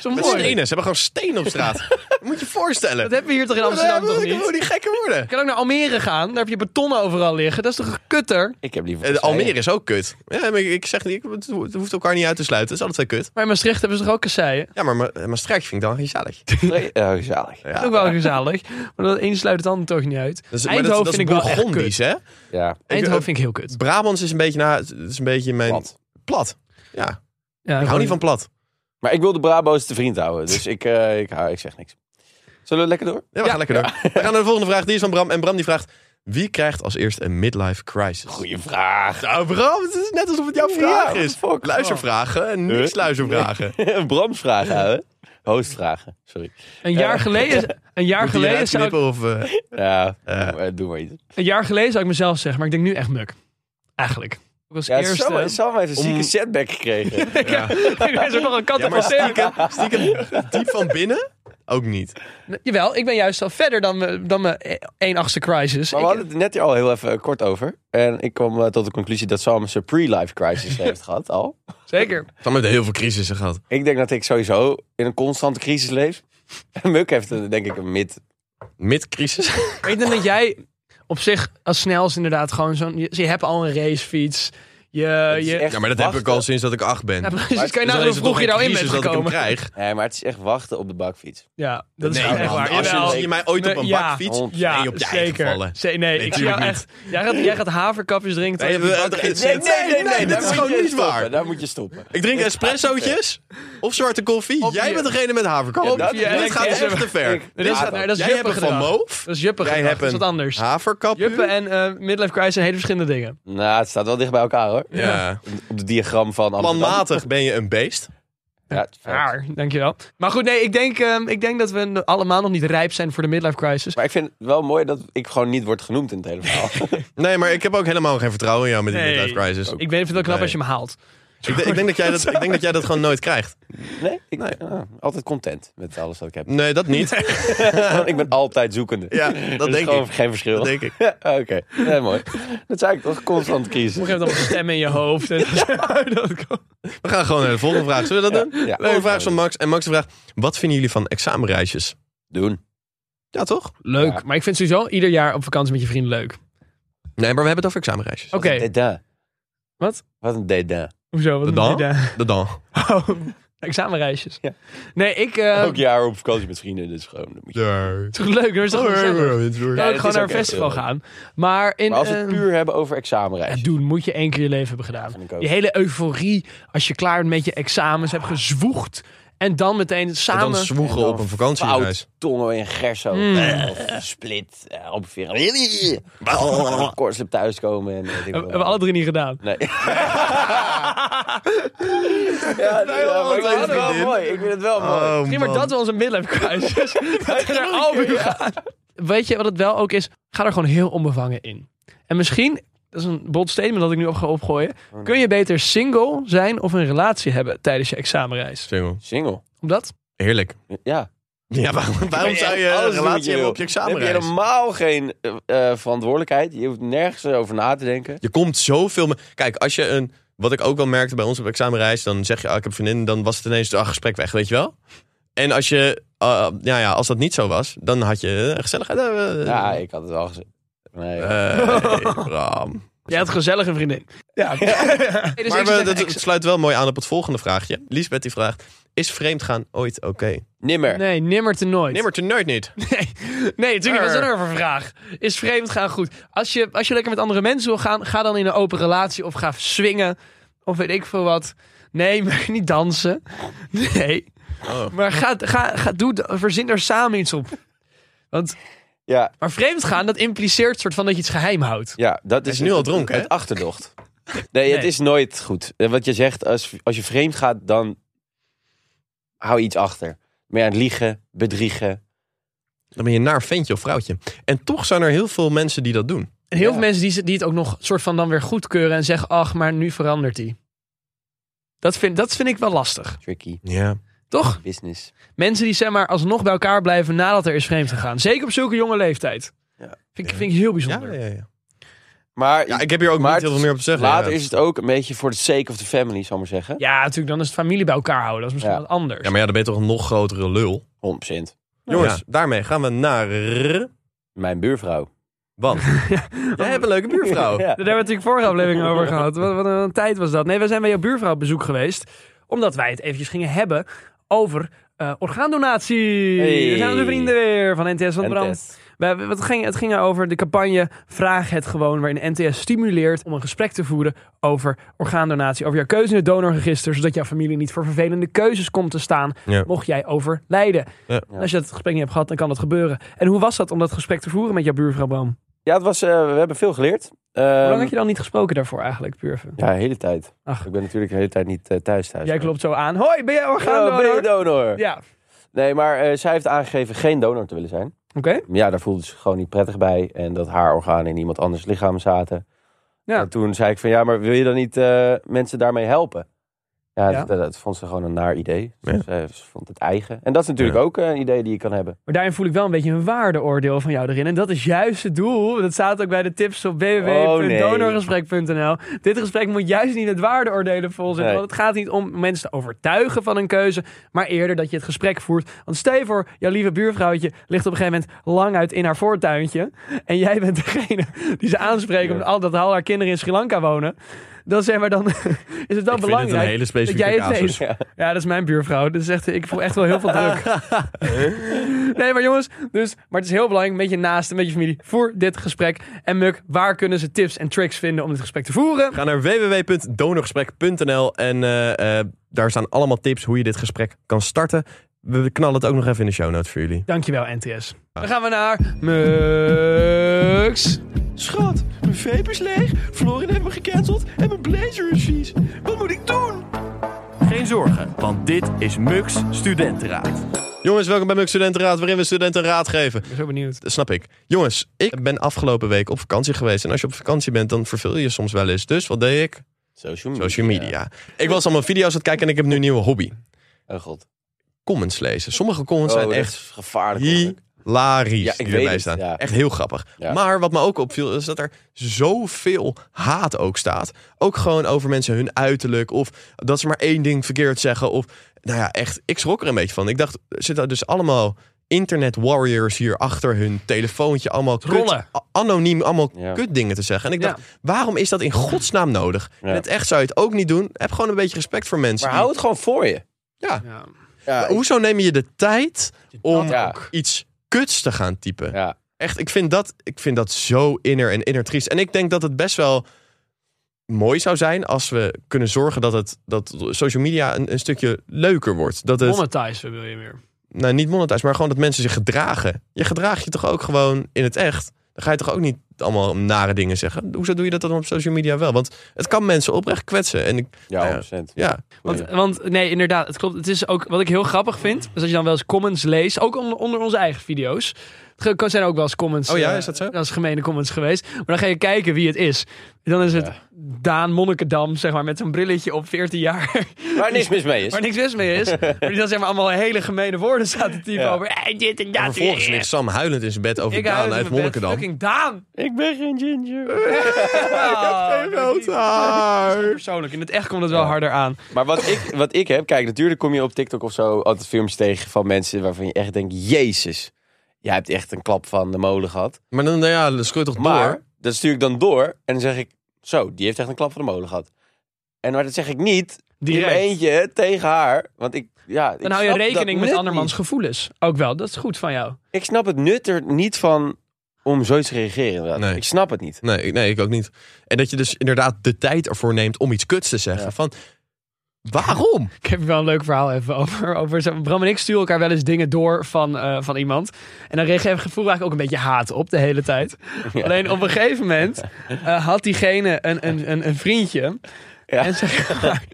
[SPEAKER 4] Zo
[SPEAKER 5] Met
[SPEAKER 4] mooi.
[SPEAKER 5] stenen. Ze hebben gewoon stenen op straat. Moet je je voorstellen.
[SPEAKER 4] Dat hebben we hier toch in Amsterdam toch niet?
[SPEAKER 5] Hoe die gekker worden. Eh,
[SPEAKER 4] Je kan ook naar Almere gaan. Daar heb je beton overal liggen. Dat is toch een kutter?
[SPEAKER 6] Ik heb liever
[SPEAKER 5] Eh, de
[SPEAKER 6] kasseien.
[SPEAKER 5] Almere is ook kut. Ja, maar ik, ik zeg niet, ik- het ho- het hoeft elkaar niet uit te sluiten. Het is altijd wel kut.
[SPEAKER 4] Maar in Maastricht hebben ze toch ook kasseien?
[SPEAKER 5] Ja, maar Ma- eh, Maastricht vind ik dan gezellig.
[SPEAKER 6] Nee, eh, gezellig.
[SPEAKER 5] Ja.
[SPEAKER 4] ook wel gezellig. Maar dat een sluit het ander toch niet uit.
[SPEAKER 5] Dat is, maar dat,
[SPEAKER 4] Eindhoven
[SPEAKER 5] dat is
[SPEAKER 4] vind ik wel echt kut.
[SPEAKER 5] Bourgondisch, hè? eh,
[SPEAKER 6] Ja.
[SPEAKER 4] Eindhoven vind ik heel kut.
[SPEAKER 5] Brabants is een beetje, na, het is een beetje mijn...
[SPEAKER 6] Plat.
[SPEAKER 5] Plat. Ja,
[SPEAKER 4] Ja,
[SPEAKER 5] ik hou niet van plat.
[SPEAKER 6] Maar ik wil de Brabo's te vriend houden. Dus ik, eh, ik, hou- ik zeg niks. Zullen we lekker door?
[SPEAKER 5] Ja, we gaan lekker door. We gaan naar de volgende vraag. Die is van Bram. En Bram die vraagt... Wie krijgt als eerst een midlife crisis?
[SPEAKER 6] Goeie vraag.
[SPEAKER 5] Nou Bram, het is net alsof het jouw
[SPEAKER 6] Ja,
[SPEAKER 5] vraag
[SPEAKER 6] what
[SPEAKER 5] is.
[SPEAKER 6] the fuck?
[SPEAKER 5] Luistervragen en niks
[SPEAKER 6] Huh?
[SPEAKER 5] luistervragen.
[SPEAKER 6] Bramsvragen houden. Hostvragen, sorry.
[SPEAKER 4] Een jaar geleden, een jaar
[SPEAKER 5] Moet je
[SPEAKER 4] geleden,
[SPEAKER 5] eruit
[SPEAKER 4] zou ik,
[SPEAKER 5] knippen of... eh,
[SPEAKER 6] Ja,
[SPEAKER 5] Eh.
[SPEAKER 6] doe maar- doe maar iets.
[SPEAKER 4] een jaar geleden zou ik mezelf zeggen, maar ik denk nu echt muk. Eigenlijk. Ik was
[SPEAKER 6] Ja,
[SPEAKER 4] eerst...
[SPEAKER 6] Sam,
[SPEAKER 4] eh,
[SPEAKER 6] Sam heeft een
[SPEAKER 5] om-
[SPEAKER 6] zieke setback gekregen.
[SPEAKER 4] ik ben zo nog een kat
[SPEAKER 5] Ja,
[SPEAKER 4] op
[SPEAKER 5] maar
[SPEAKER 4] mijn
[SPEAKER 5] stiekem, stiekem diep van binnen ook niet.
[SPEAKER 4] Nee, Jawel, ik ben juist al verder dan mijn, dan mijn 1 achtste crisis.
[SPEAKER 6] Maar we
[SPEAKER 4] Ik-
[SPEAKER 6] hadden het net hier al heel even kort over. En ik kwam eh, tot de conclusie dat Sam zijn pre-life crisis heeft gehad al.
[SPEAKER 4] zeker.
[SPEAKER 5] Dan met heel veel crisissen gehad.
[SPEAKER 6] Ik denk dat ik sowieso in een constante crisis leef. En Muk heeft eh, denk ik een mid.
[SPEAKER 5] Mid-crisis.
[SPEAKER 4] Maar ik denk dat jij op zich als snel is inderdaad gewoon zo'n... Je, je hebt al een racefiets. Je,
[SPEAKER 6] Het is
[SPEAKER 4] je,
[SPEAKER 6] echt
[SPEAKER 5] Ja, maar dat heb ik
[SPEAKER 6] wachten-
[SPEAKER 5] al sinds dat ik acht ben.
[SPEAKER 4] ja,
[SPEAKER 5] Dus
[SPEAKER 4] precies. kan je
[SPEAKER 5] dan
[SPEAKER 4] nagaan
[SPEAKER 5] is
[SPEAKER 4] hoe
[SPEAKER 5] het
[SPEAKER 4] vroeg
[SPEAKER 5] toch
[SPEAKER 4] je
[SPEAKER 5] geen
[SPEAKER 4] nou in bent
[SPEAKER 5] crisis dat ik hem
[SPEAKER 4] gekomen.
[SPEAKER 5] krijg.
[SPEAKER 6] Nee, maar het is echt wachten op de bakfiets.
[SPEAKER 4] Ja, dat is
[SPEAKER 5] Nee,
[SPEAKER 4] echt
[SPEAKER 5] man,
[SPEAKER 4] waar.
[SPEAKER 5] Als je,
[SPEAKER 4] Jawel.
[SPEAKER 5] zie je mij ooit op een
[SPEAKER 4] Ja. oh,
[SPEAKER 5] bakfiets,
[SPEAKER 6] Hond-
[SPEAKER 4] ja,
[SPEAKER 5] nee, op je eigen
[SPEAKER 4] zeker.
[SPEAKER 5] vallen.
[SPEAKER 4] Ze- nee, ik zie jou
[SPEAKER 5] tuurlijk niet.
[SPEAKER 4] echt... Jij gaat, jij gaat haverkapjes drinken
[SPEAKER 5] Nee,
[SPEAKER 4] terwijl je op
[SPEAKER 5] we-
[SPEAKER 4] je bank
[SPEAKER 5] het-
[SPEAKER 4] zit.
[SPEAKER 5] Nee, nee, nee, nee,
[SPEAKER 6] daar
[SPEAKER 5] dat is
[SPEAKER 6] moet
[SPEAKER 5] gewoon
[SPEAKER 6] je
[SPEAKER 5] niet
[SPEAKER 6] stoppen,
[SPEAKER 5] waar.
[SPEAKER 6] Daar moet je stoppen.
[SPEAKER 5] Ik drink espressootjes of zwarte koffie.
[SPEAKER 4] Op
[SPEAKER 5] Jij
[SPEAKER 4] je-
[SPEAKER 5] bent degene met haverkap.
[SPEAKER 4] Op
[SPEAKER 5] dat
[SPEAKER 4] je
[SPEAKER 5] dit gaat
[SPEAKER 4] elektrische-
[SPEAKER 5] echt te ver.
[SPEAKER 4] Dat is, nee, dat is
[SPEAKER 5] Jij hebt
[SPEAKER 4] juppen
[SPEAKER 5] een van
[SPEAKER 4] gedrag.
[SPEAKER 5] Moof.
[SPEAKER 4] Dat is juppen
[SPEAKER 5] Jij
[SPEAKER 4] gedrag.
[SPEAKER 5] hebt
[SPEAKER 4] Dat is wat
[SPEAKER 5] een
[SPEAKER 4] anders.
[SPEAKER 5] Haverkap.
[SPEAKER 4] Juppen en eh, midlife crisis zijn hele verschillende dingen.
[SPEAKER 6] Nou, het staat wel dicht bij elkaar hoor.
[SPEAKER 5] Ja.
[SPEAKER 6] Op het diagram van Amsterdam.
[SPEAKER 5] Planmatig ben je een beest.
[SPEAKER 6] Ja, het is fair.
[SPEAKER 4] Raar, dankjewel. Maar goed, nee, ik denk, ehm, ik denk dat we allemaal nog niet rijp zijn voor de midlife crisis.
[SPEAKER 6] Maar ik vind het wel mooi dat ik gewoon niet word genoemd in het hele verhaal.
[SPEAKER 5] Nee, maar ik heb ook helemaal geen vertrouwen in jou met die
[SPEAKER 4] Nee.
[SPEAKER 5] midlife crisis.
[SPEAKER 4] Ik weet, vind het wel knap
[SPEAKER 5] Nee.
[SPEAKER 4] als je me haalt.
[SPEAKER 5] Ik, denk- ik denk dat jij dat, ik denk dat jij dat gewoon nooit krijgt.
[SPEAKER 6] Nee, ik ah, altijd content met alles wat ik heb.
[SPEAKER 5] Nee, dat niet.
[SPEAKER 6] Want ik ben altijd zoekende.
[SPEAKER 5] Ja,
[SPEAKER 6] Er
[SPEAKER 5] dat
[SPEAKER 6] is
[SPEAKER 5] denk
[SPEAKER 6] gewoon
[SPEAKER 5] ik.
[SPEAKER 6] geen verschil.
[SPEAKER 5] Dat denk ik.
[SPEAKER 6] Ja, Oké, nee, mooi. Dat zei ik toch, constant
[SPEAKER 4] Op
[SPEAKER 6] crisis.
[SPEAKER 4] een gegeven moment stemmen in je hoofd. En dat kan.
[SPEAKER 5] We gaan gewoon naar de volgende vraag. Zullen we dat doen?
[SPEAKER 6] Ja,
[SPEAKER 5] De volgende
[SPEAKER 6] leuk.
[SPEAKER 5] vraag is van Max. En Max vraagt, wat vinden jullie van examenreisjes?
[SPEAKER 6] Doen.
[SPEAKER 5] Ja, toch?
[SPEAKER 4] Leuk,
[SPEAKER 6] Ja.
[SPEAKER 4] maar ik vind sowieso ieder jaar op vakantie met je vrienden leuk. Oké,
[SPEAKER 5] Nee, maar we hebben het over examenreisjes.
[SPEAKER 6] Dédain.
[SPEAKER 4] Wat?
[SPEAKER 6] Wat een dédain.
[SPEAKER 4] hoezo? Wat
[SPEAKER 5] Dan?
[SPEAKER 4] een idee.
[SPEAKER 5] Dat dan.
[SPEAKER 4] Oh, examenreisjes.
[SPEAKER 6] Ja.
[SPEAKER 4] Nee, ik...
[SPEAKER 5] Ehm.
[SPEAKER 4] eh,
[SPEAKER 6] Elk jaar op vakantie met vrienden, dus gewoon... dat moet je-
[SPEAKER 5] Ja.
[SPEAKER 4] Het is toch leuk, dat is toch gezellig?
[SPEAKER 6] Ja,
[SPEAKER 4] Kan ook
[SPEAKER 6] dat
[SPEAKER 4] gewoon
[SPEAKER 6] is
[SPEAKER 4] naar
[SPEAKER 6] ook
[SPEAKER 4] een
[SPEAKER 6] echt
[SPEAKER 4] festival
[SPEAKER 6] heel leuk.
[SPEAKER 4] gaan. Maar
[SPEAKER 5] Ehm.
[SPEAKER 4] in...
[SPEAKER 6] Maar als we het
[SPEAKER 4] eh,
[SPEAKER 6] puur hebben over
[SPEAKER 4] Ja,
[SPEAKER 6] examenreis.
[SPEAKER 4] doen moet je één keer je leven hebben gedaan.
[SPEAKER 6] vind ik ook.
[SPEAKER 4] Die hele euforie als je klaar bent met je examens, hebt gezwoegd. En dan meteen
[SPEAKER 5] En
[SPEAKER 4] samen.
[SPEAKER 5] dan zwoegen op een vakantiereis.
[SPEAKER 6] Fout, tongen in gerso.
[SPEAKER 4] Hmm.
[SPEAKER 6] Of split, eh, op vier. Oh, Kortslip thuiskomen en weet ik
[SPEAKER 4] hebben
[SPEAKER 6] wat.
[SPEAKER 4] we alle drie niet gedaan.
[SPEAKER 6] Nee. ja, nee, ja, maar ik vind het wel mooi. Ik vind het wel mooi.
[SPEAKER 5] Oh,
[SPEAKER 4] Misschien wordt
[SPEAKER 5] man.
[SPEAKER 4] dat wel onze midlife crisis. dat we naar Albu gaan. Weet je wat het wel ook is? Ga er gewoon heel onbevangen in. En misschien, dat is een bold statement dat ik nu op ga opgooien.
[SPEAKER 6] Oh,
[SPEAKER 4] Kun je beter single zijn of een relatie hebben tijdens je examenreis?
[SPEAKER 5] Single.
[SPEAKER 6] Single.
[SPEAKER 4] Omdat?
[SPEAKER 5] Heerlijk.
[SPEAKER 6] Ja.
[SPEAKER 5] Ja, waarom, waarom zou je
[SPEAKER 6] Alles
[SPEAKER 5] een
[SPEAKER 6] doe wat
[SPEAKER 5] relatie hebben
[SPEAKER 6] wil.
[SPEAKER 5] op je
[SPEAKER 6] Dan heb je
[SPEAKER 5] examenreis?
[SPEAKER 6] helemaal geen eh, eh, verantwoordelijkheid. Je hoeft nergens eh, over na te denken.
[SPEAKER 5] Je komt zoveel... me- Kijk, als je een... Wat ik ook wel merkte bij ons op examenreis, dan zeg je, ah, ik heb een vriendin, dan was het ineens, ah, gesprek weg, weet je wel? En als je, eh, ja, ja, als dat niet zo was, dan had je eh, gezelligheid. eh, eh,
[SPEAKER 6] Ja, ik had het al gezegd. Nee.
[SPEAKER 5] eh, Bram.
[SPEAKER 4] Jij had gezellig een vriendin. Ja. Hey, dus
[SPEAKER 5] maar
[SPEAKER 4] ik zou
[SPEAKER 5] we,
[SPEAKER 4] zeggen,
[SPEAKER 5] dat
[SPEAKER 4] ik-
[SPEAKER 5] sluit wel mooi aan op het volgende vraagje. Lisbeth die vraagt, is vreemdgaan ooit oké?
[SPEAKER 6] Nimmer.
[SPEAKER 4] Nee, nimmer te nooit.
[SPEAKER 5] Nimmer te nooit niet.
[SPEAKER 4] Nee, nee natuurlijk. Wat is dat
[SPEAKER 5] Er.
[SPEAKER 4] nou voor vraag? Is vreemd gaan goed? Als je, als je lekker met andere mensen wil gaan, ga dan in een open relatie of ga swingen. Of weet ik veel wat. Nee, maar niet dansen. Nee.
[SPEAKER 5] Oh.
[SPEAKER 4] Maar ga, ga, ga, doe, verzin er samen iets op. Want,
[SPEAKER 6] Ja,
[SPEAKER 4] maar vreemd gaan, dat impliceert soort van dat je iets geheim houdt.
[SPEAKER 6] ja, dat
[SPEAKER 5] Hij
[SPEAKER 6] is
[SPEAKER 5] is nu al dronken, hè?
[SPEAKER 6] Het achterdocht. Nee, het
[SPEAKER 4] Nee.
[SPEAKER 6] is nooit goed. Eh, Wat je zegt, als, als je vreemd gaat, dan hou je iets achter. Meer aan het liegen, bedriegen.
[SPEAKER 5] Dan ben je een naar ventje of vrouwtje. En toch zijn er heel veel mensen die dat doen.
[SPEAKER 4] En heel
[SPEAKER 6] Ja.
[SPEAKER 4] veel mensen die, ze- die het ook nog soort van dan weer goedkeuren en zeggen, ach, maar nu verandert die. Dat vind, dat vind ik wel lastig.
[SPEAKER 6] Tricky
[SPEAKER 5] Ja.
[SPEAKER 4] Toch?
[SPEAKER 6] business.
[SPEAKER 4] Mensen die zeg maar alsnog bij elkaar blijven nadat er is vreemd gegaan. Zeker op zulke jonge leeftijd.
[SPEAKER 6] Ja.
[SPEAKER 4] Vind, ik- vind ik heel
[SPEAKER 5] Ja,
[SPEAKER 4] bijzonder.
[SPEAKER 5] ja, ja.
[SPEAKER 6] Maar,
[SPEAKER 5] ja, ik heb hier ook
[SPEAKER 6] Maar
[SPEAKER 5] niet heel veel meer op te zeggen.
[SPEAKER 6] later
[SPEAKER 5] ja.
[SPEAKER 6] is het ook een beetje voor de sake of the family, zal ik maar zeggen.
[SPEAKER 4] Ja, natuurlijk. Dan is het familie bij elkaar houden. Dat is misschien
[SPEAKER 6] Ja.
[SPEAKER 4] wat anders.
[SPEAKER 5] Ja, maar ja, dan ben je toch een nog grotere lul.
[SPEAKER 6] 100%.
[SPEAKER 5] Jongens, daarmee gaan we naar...
[SPEAKER 6] Mijn buurvrouw.
[SPEAKER 5] Want jij hebt een leuke buurvrouw.
[SPEAKER 6] Ja.
[SPEAKER 4] Daar hebben we natuurlijk vorige aflevering over gehad. Wat, wat een tijd was dat. Nee, we zijn bij jouw buurvrouw op bezoek geweest. Omdat wij het eventjes gingen hebben over eh, orgaandonatie.
[SPEAKER 6] Hey.
[SPEAKER 4] Daar zijn onze vrienden weer van NTS
[SPEAKER 6] eh,
[SPEAKER 4] van het Brand.
[SPEAKER 6] NTS.
[SPEAKER 4] We, we- het, ging, het ging over de campagne Vraag het gewoon, waarin NTS stimuleert om een gesprek te voeren over orgaandonatie, over jouw keuze in het donorregister, zodat jouw familie niet voor vervelende keuzes komt te staan,
[SPEAKER 5] Ja.
[SPEAKER 4] mocht jij overlijden.
[SPEAKER 5] Ja.
[SPEAKER 4] En Als je dat gesprek niet hebt gehad, dan kan dat gebeuren. En hoe was dat om dat gesprek te voeren met jouw buurvrouw Bram? Hoe
[SPEAKER 6] Ja, het was, eh, we hebben veel geleerd.
[SPEAKER 4] lang
[SPEAKER 6] Ehm,
[SPEAKER 4] had je dan niet gesproken daarvoor eigenlijk, Purven?
[SPEAKER 6] Ja, de hele tijd.
[SPEAKER 4] Ach.
[SPEAKER 6] Ik ben natuurlijk de hele tijd niet eh, thuis thuis.
[SPEAKER 4] Jij klopt zo aan. Hoi, ben jij
[SPEAKER 6] Ja, ben je
[SPEAKER 4] orgaandonor?
[SPEAKER 6] donor?
[SPEAKER 4] Ja,
[SPEAKER 6] Nee, maar eh, zij heeft aangegeven geen donor te willen zijn.
[SPEAKER 4] oké.
[SPEAKER 6] Maar ja, daar voelde ze zich gewoon niet prettig bij. En dat haar organen in iemand anders lichaam zaten.
[SPEAKER 4] Ja.
[SPEAKER 6] En toen zei ik van, ja, maar wil je dan niet eh, mensen daarmee helpen? Ja,
[SPEAKER 4] Ja.
[SPEAKER 6] Dat, dat vond ze gewoon een naar idee. Ze-
[SPEAKER 5] Ja.
[SPEAKER 6] Ze, ze vond het eigen. En dat is natuurlijk
[SPEAKER 5] Ja.
[SPEAKER 6] ook eh, een idee die je kan hebben.
[SPEAKER 4] Maar daarin voel ik wel een beetje een waardeoordeel van jou erin. En dat is juist het doel. Dat staat ook bij de tips op www.donorgesprek.nl. Dit gesprek moet juist niet het waardeoordelen vol zitten.
[SPEAKER 6] Nee.
[SPEAKER 4] Want het gaat niet om mensen te overtuigen van een keuze. Maar eerder dat je het gesprek voert. Want stel je voor, jouw lieve buurvrouwtje ligt op een gegeven moment lang uit in haar voortuintje. En jij bent degene die ze aanspreekt. Omdat al, dat al haar kinderen in Sri Lanka wonen. Dan zeg maar, dan is het wel
[SPEAKER 5] Ik vind het een
[SPEAKER 4] belangrijk.
[SPEAKER 5] hele specifieke
[SPEAKER 4] dat jij het
[SPEAKER 5] casus.
[SPEAKER 4] weet. Ja, dat is mijn buurvrouw. Dus echt, ik voel echt wel heel veel druk. Nee, maar jongens, dus, maar het is heel belangrijk met je naast en met je familie voor dit gesprek. En Muk, waar kunnen ze tips en tricks vinden om dit gesprek te voeren?
[SPEAKER 5] Ga naar www.donorgesprek.nl en eh, eh, daar staan allemaal tips hoe je dit gesprek kan starten. We knallen het ook nog even in de show notes voor jullie.
[SPEAKER 4] Dankjewel, NTS. Dan gaan we naar Mux.
[SPEAKER 2] Schat, mijn vape is leeg, Florin heeft me gecanceld en mijn blazer is vies. Wat moet ik doen? Geen zorgen, want dit is Mux Studentenraad.
[SPEAKER 5] Jongens, welkom bij Mux Studentenraad, waarin we studenten raad geven.
[SPEAKER 4] Ik ben zo benieuwd.
[SPEAKER 5] Dat snap ik. Jongens, ik ben afgelopen week op vakantie geweest. En als je op vakantie bent, dan verveel je je soms wel eens. Dus wat deed ik?
[SPEAKER 6] Social media.
[SPEAKER 5] Social media. Ik was allemaal video's aan het kijken en ik heb nu een nieuwe hobby.
[SPEAKER 6] Oh god.
[SPEAKER 5] Comments lezen. Sommige comments
[SPEAKER 6] Oh,
[SPEAKER 5] zijn
[SPEAKER 6] dat
[SPEAKER 5] echt
[SPEAKER 6] is gevaarlijk. hoor.
[SPEAKER 5] hilarisch
[SPEAKER 6] Ja, ik
[SPEAKER 5] die
[SPEAKER 6] weet
[SPEAKER 5] erbij
[SPEAKER 6] het,
[SPEAKER 5] staan.
[SPEAKER 6] ja.
[SPEAKER 5] Echt heel grappig.
[SPEAKER 6] Ja.
[SPEAKER 5] Maar wat me ook opviel is dat er zoveel haat ook staat. Ook gewoon over mensen hun uiterlijk of dat ze maar één ding verkeerd zeggen of nou ja, echt ik schrok er een beetje van. Ik dacht zitten dus allemaal internet warriors hier achter hun telefoontje allemaal kut-
[SPEAKER 4] Trollen.
[SPEAKER 5] a- anoniem allemaal
[SPEAKER 6] Ja.
[SPEAKER 5] kutdingen te zeggen. En ik
[SPEAKER 4] Ja.
[SPEAKER 5] dacht, waarom is dat in godsnaam nodig?
[SPEAKER 6] Ja.
[SPEAKER 5] In het echt zou je het ook niet doen. Heb gewoon een beetje respect voor mensen.
[SPEAKER 6] Maar
[SPEAKER 5] die-
[SPEAKER 6] hou het gewoon voor je.
[SPEAKER 5] ja.
[SPEAKER 4] Ja.
[SPEAKER 6] Ja,
[SPEAKER 5] Hoezo neem je de tijd om
[SPEAKER 6] ja.
[SPEAKER 5] iets kuts te gaan typen?
[SPEAKER 6] ja.
[SPEAKER 5] Echt, ik vind, dat, ik vind dat zo inner en inner triest. En ik denk dat het best wel mooi zou zijn als we kunnen zorgen dat, het, dat social media een, een stukje leuker wordt. Dat het,
[SPEAKER 4] Monetizen wil je weer.
[SPEAKER 5] nou niet monetize, maar gewoon dat mensen zich gedragen. Je gedraagt je toch ook gewoon in het echt? Dan ga je toch ook niet allemaal nare dingen zeggen? Hoezo doe je dat dan op social media wel? Want het kan mensen oprecht kwetsen. En ik,
[SPEAKER 6] Ja,
[SPEAKER 5] Ja.
[SPEAKER 6] 100%.
[SPEAKER 5] ja,
[SPEAKER 4] Want, want nee, inderdaad, het klopt. Het is ook wat ik heel grappig vind. Is dat je dan wel eens comments leest. Ook on- onder onze eigen video's. Er ge- zijn ook wel eens comments.
[SPEAKER 5] Oh ja,
[SPEAKER 4] eh,
[SPEAKER 5] is dat zo?
[SPEAKER 4] Dat is gemene comments geweest. Maar dan ga je kijken wie het is. En dan is het Daan Monnikendam, zeg maar, met zo'n brilletje op 14 jaar.
[SPEAKER 6] Waar niks mis mee is.
[SPEAKER 4] Waar niks mis mee is. Maar die dan zeg maar allemaal hele gemene woorden staat te typen
[SPEAKER 6] Ja.
[SPEAKER 4] over. Hey, dit en dat.
[SPEAKER 5] en vervolgens ligt Sam huilend in zijn bed over
[SPEAKER 4] Ik
[SPEAKER 5] Daan
[SPEAKER 4] huil
[SPEAKER 5] uit
[SPEAKER 4] in mijn bed.
[SPEAKER 5] Monnikendam.
[SPEAKER 4] Fucking Daan.
[SPEAKER 6] Ik ben geen ginger.
[SPEAKER 4] Ah, dat is
[SPEAKER 5] Roodhaar.
[SPEAKER 4] Persoonlijk, in het echt komt het wel harder aan.
[SPEAKER 6] Maar wat ik, wat ik heb, kijk, natuurlijk kom je op TikTok of zo altijd filmpjes tegen van mensen waarvan je echt denkt: Jezus, jij hebt echt een klap van de molen gehad.
[SPEAKER 5] Maar dan, nou ja, dan schroeit toch
[SPEAKER 6] Maar
[SPEAKER 5] door.
[SPEAKER 6] dat stuur ik dan door en dan zeg ik: Zo, die heeft echt een klap van de molen gehad. En maar dat zeg ik niet.
[SPEAKER 4] Direct.
[SPEAKER 6] Direct. eentje tegen haar. Want ik, ja, ik
[SPEAKER 4] Dan hou je
[SPEAKER 6] snap dat
[SPEAKER 4] rekening met
[SPEAKER 6] nut
[SPEAKER 4] andermans
[SPEAKER 6] niet.
[SPEAKER 4] gevoelens. Ook wel, dat is goed van jou.
[SPEAKER 6] Ik snap het nut er niet van om zoiets te reageren. inderdaad.
[SPEAKER 5] Nee.
[SPEAKER 6] Ik snap het niet.
[SPEAKER 5] Nee, ik- nee, ik ook niet. En dat je dus inderdaad de tijd ervoor neemt om iets kuts te zeggen.
[SPEAKER 6] Ja.
[SPEAKER 5] Van, waarom?
[SPEAKER 4] Ik heb wel een leuk verhaal even over. over zo- Bram en ik sturen elkaar wel eens dingen door van, eh, van iemand. En dan reageer voel ik eigenlijk ook een beetje haat op de hele tijd. Alleen op een gegeven moment eh, had diegene een, een, een, een vriendje.
[SPEAKER 6] Ja.
[SPEAKER 4] En zeg maar,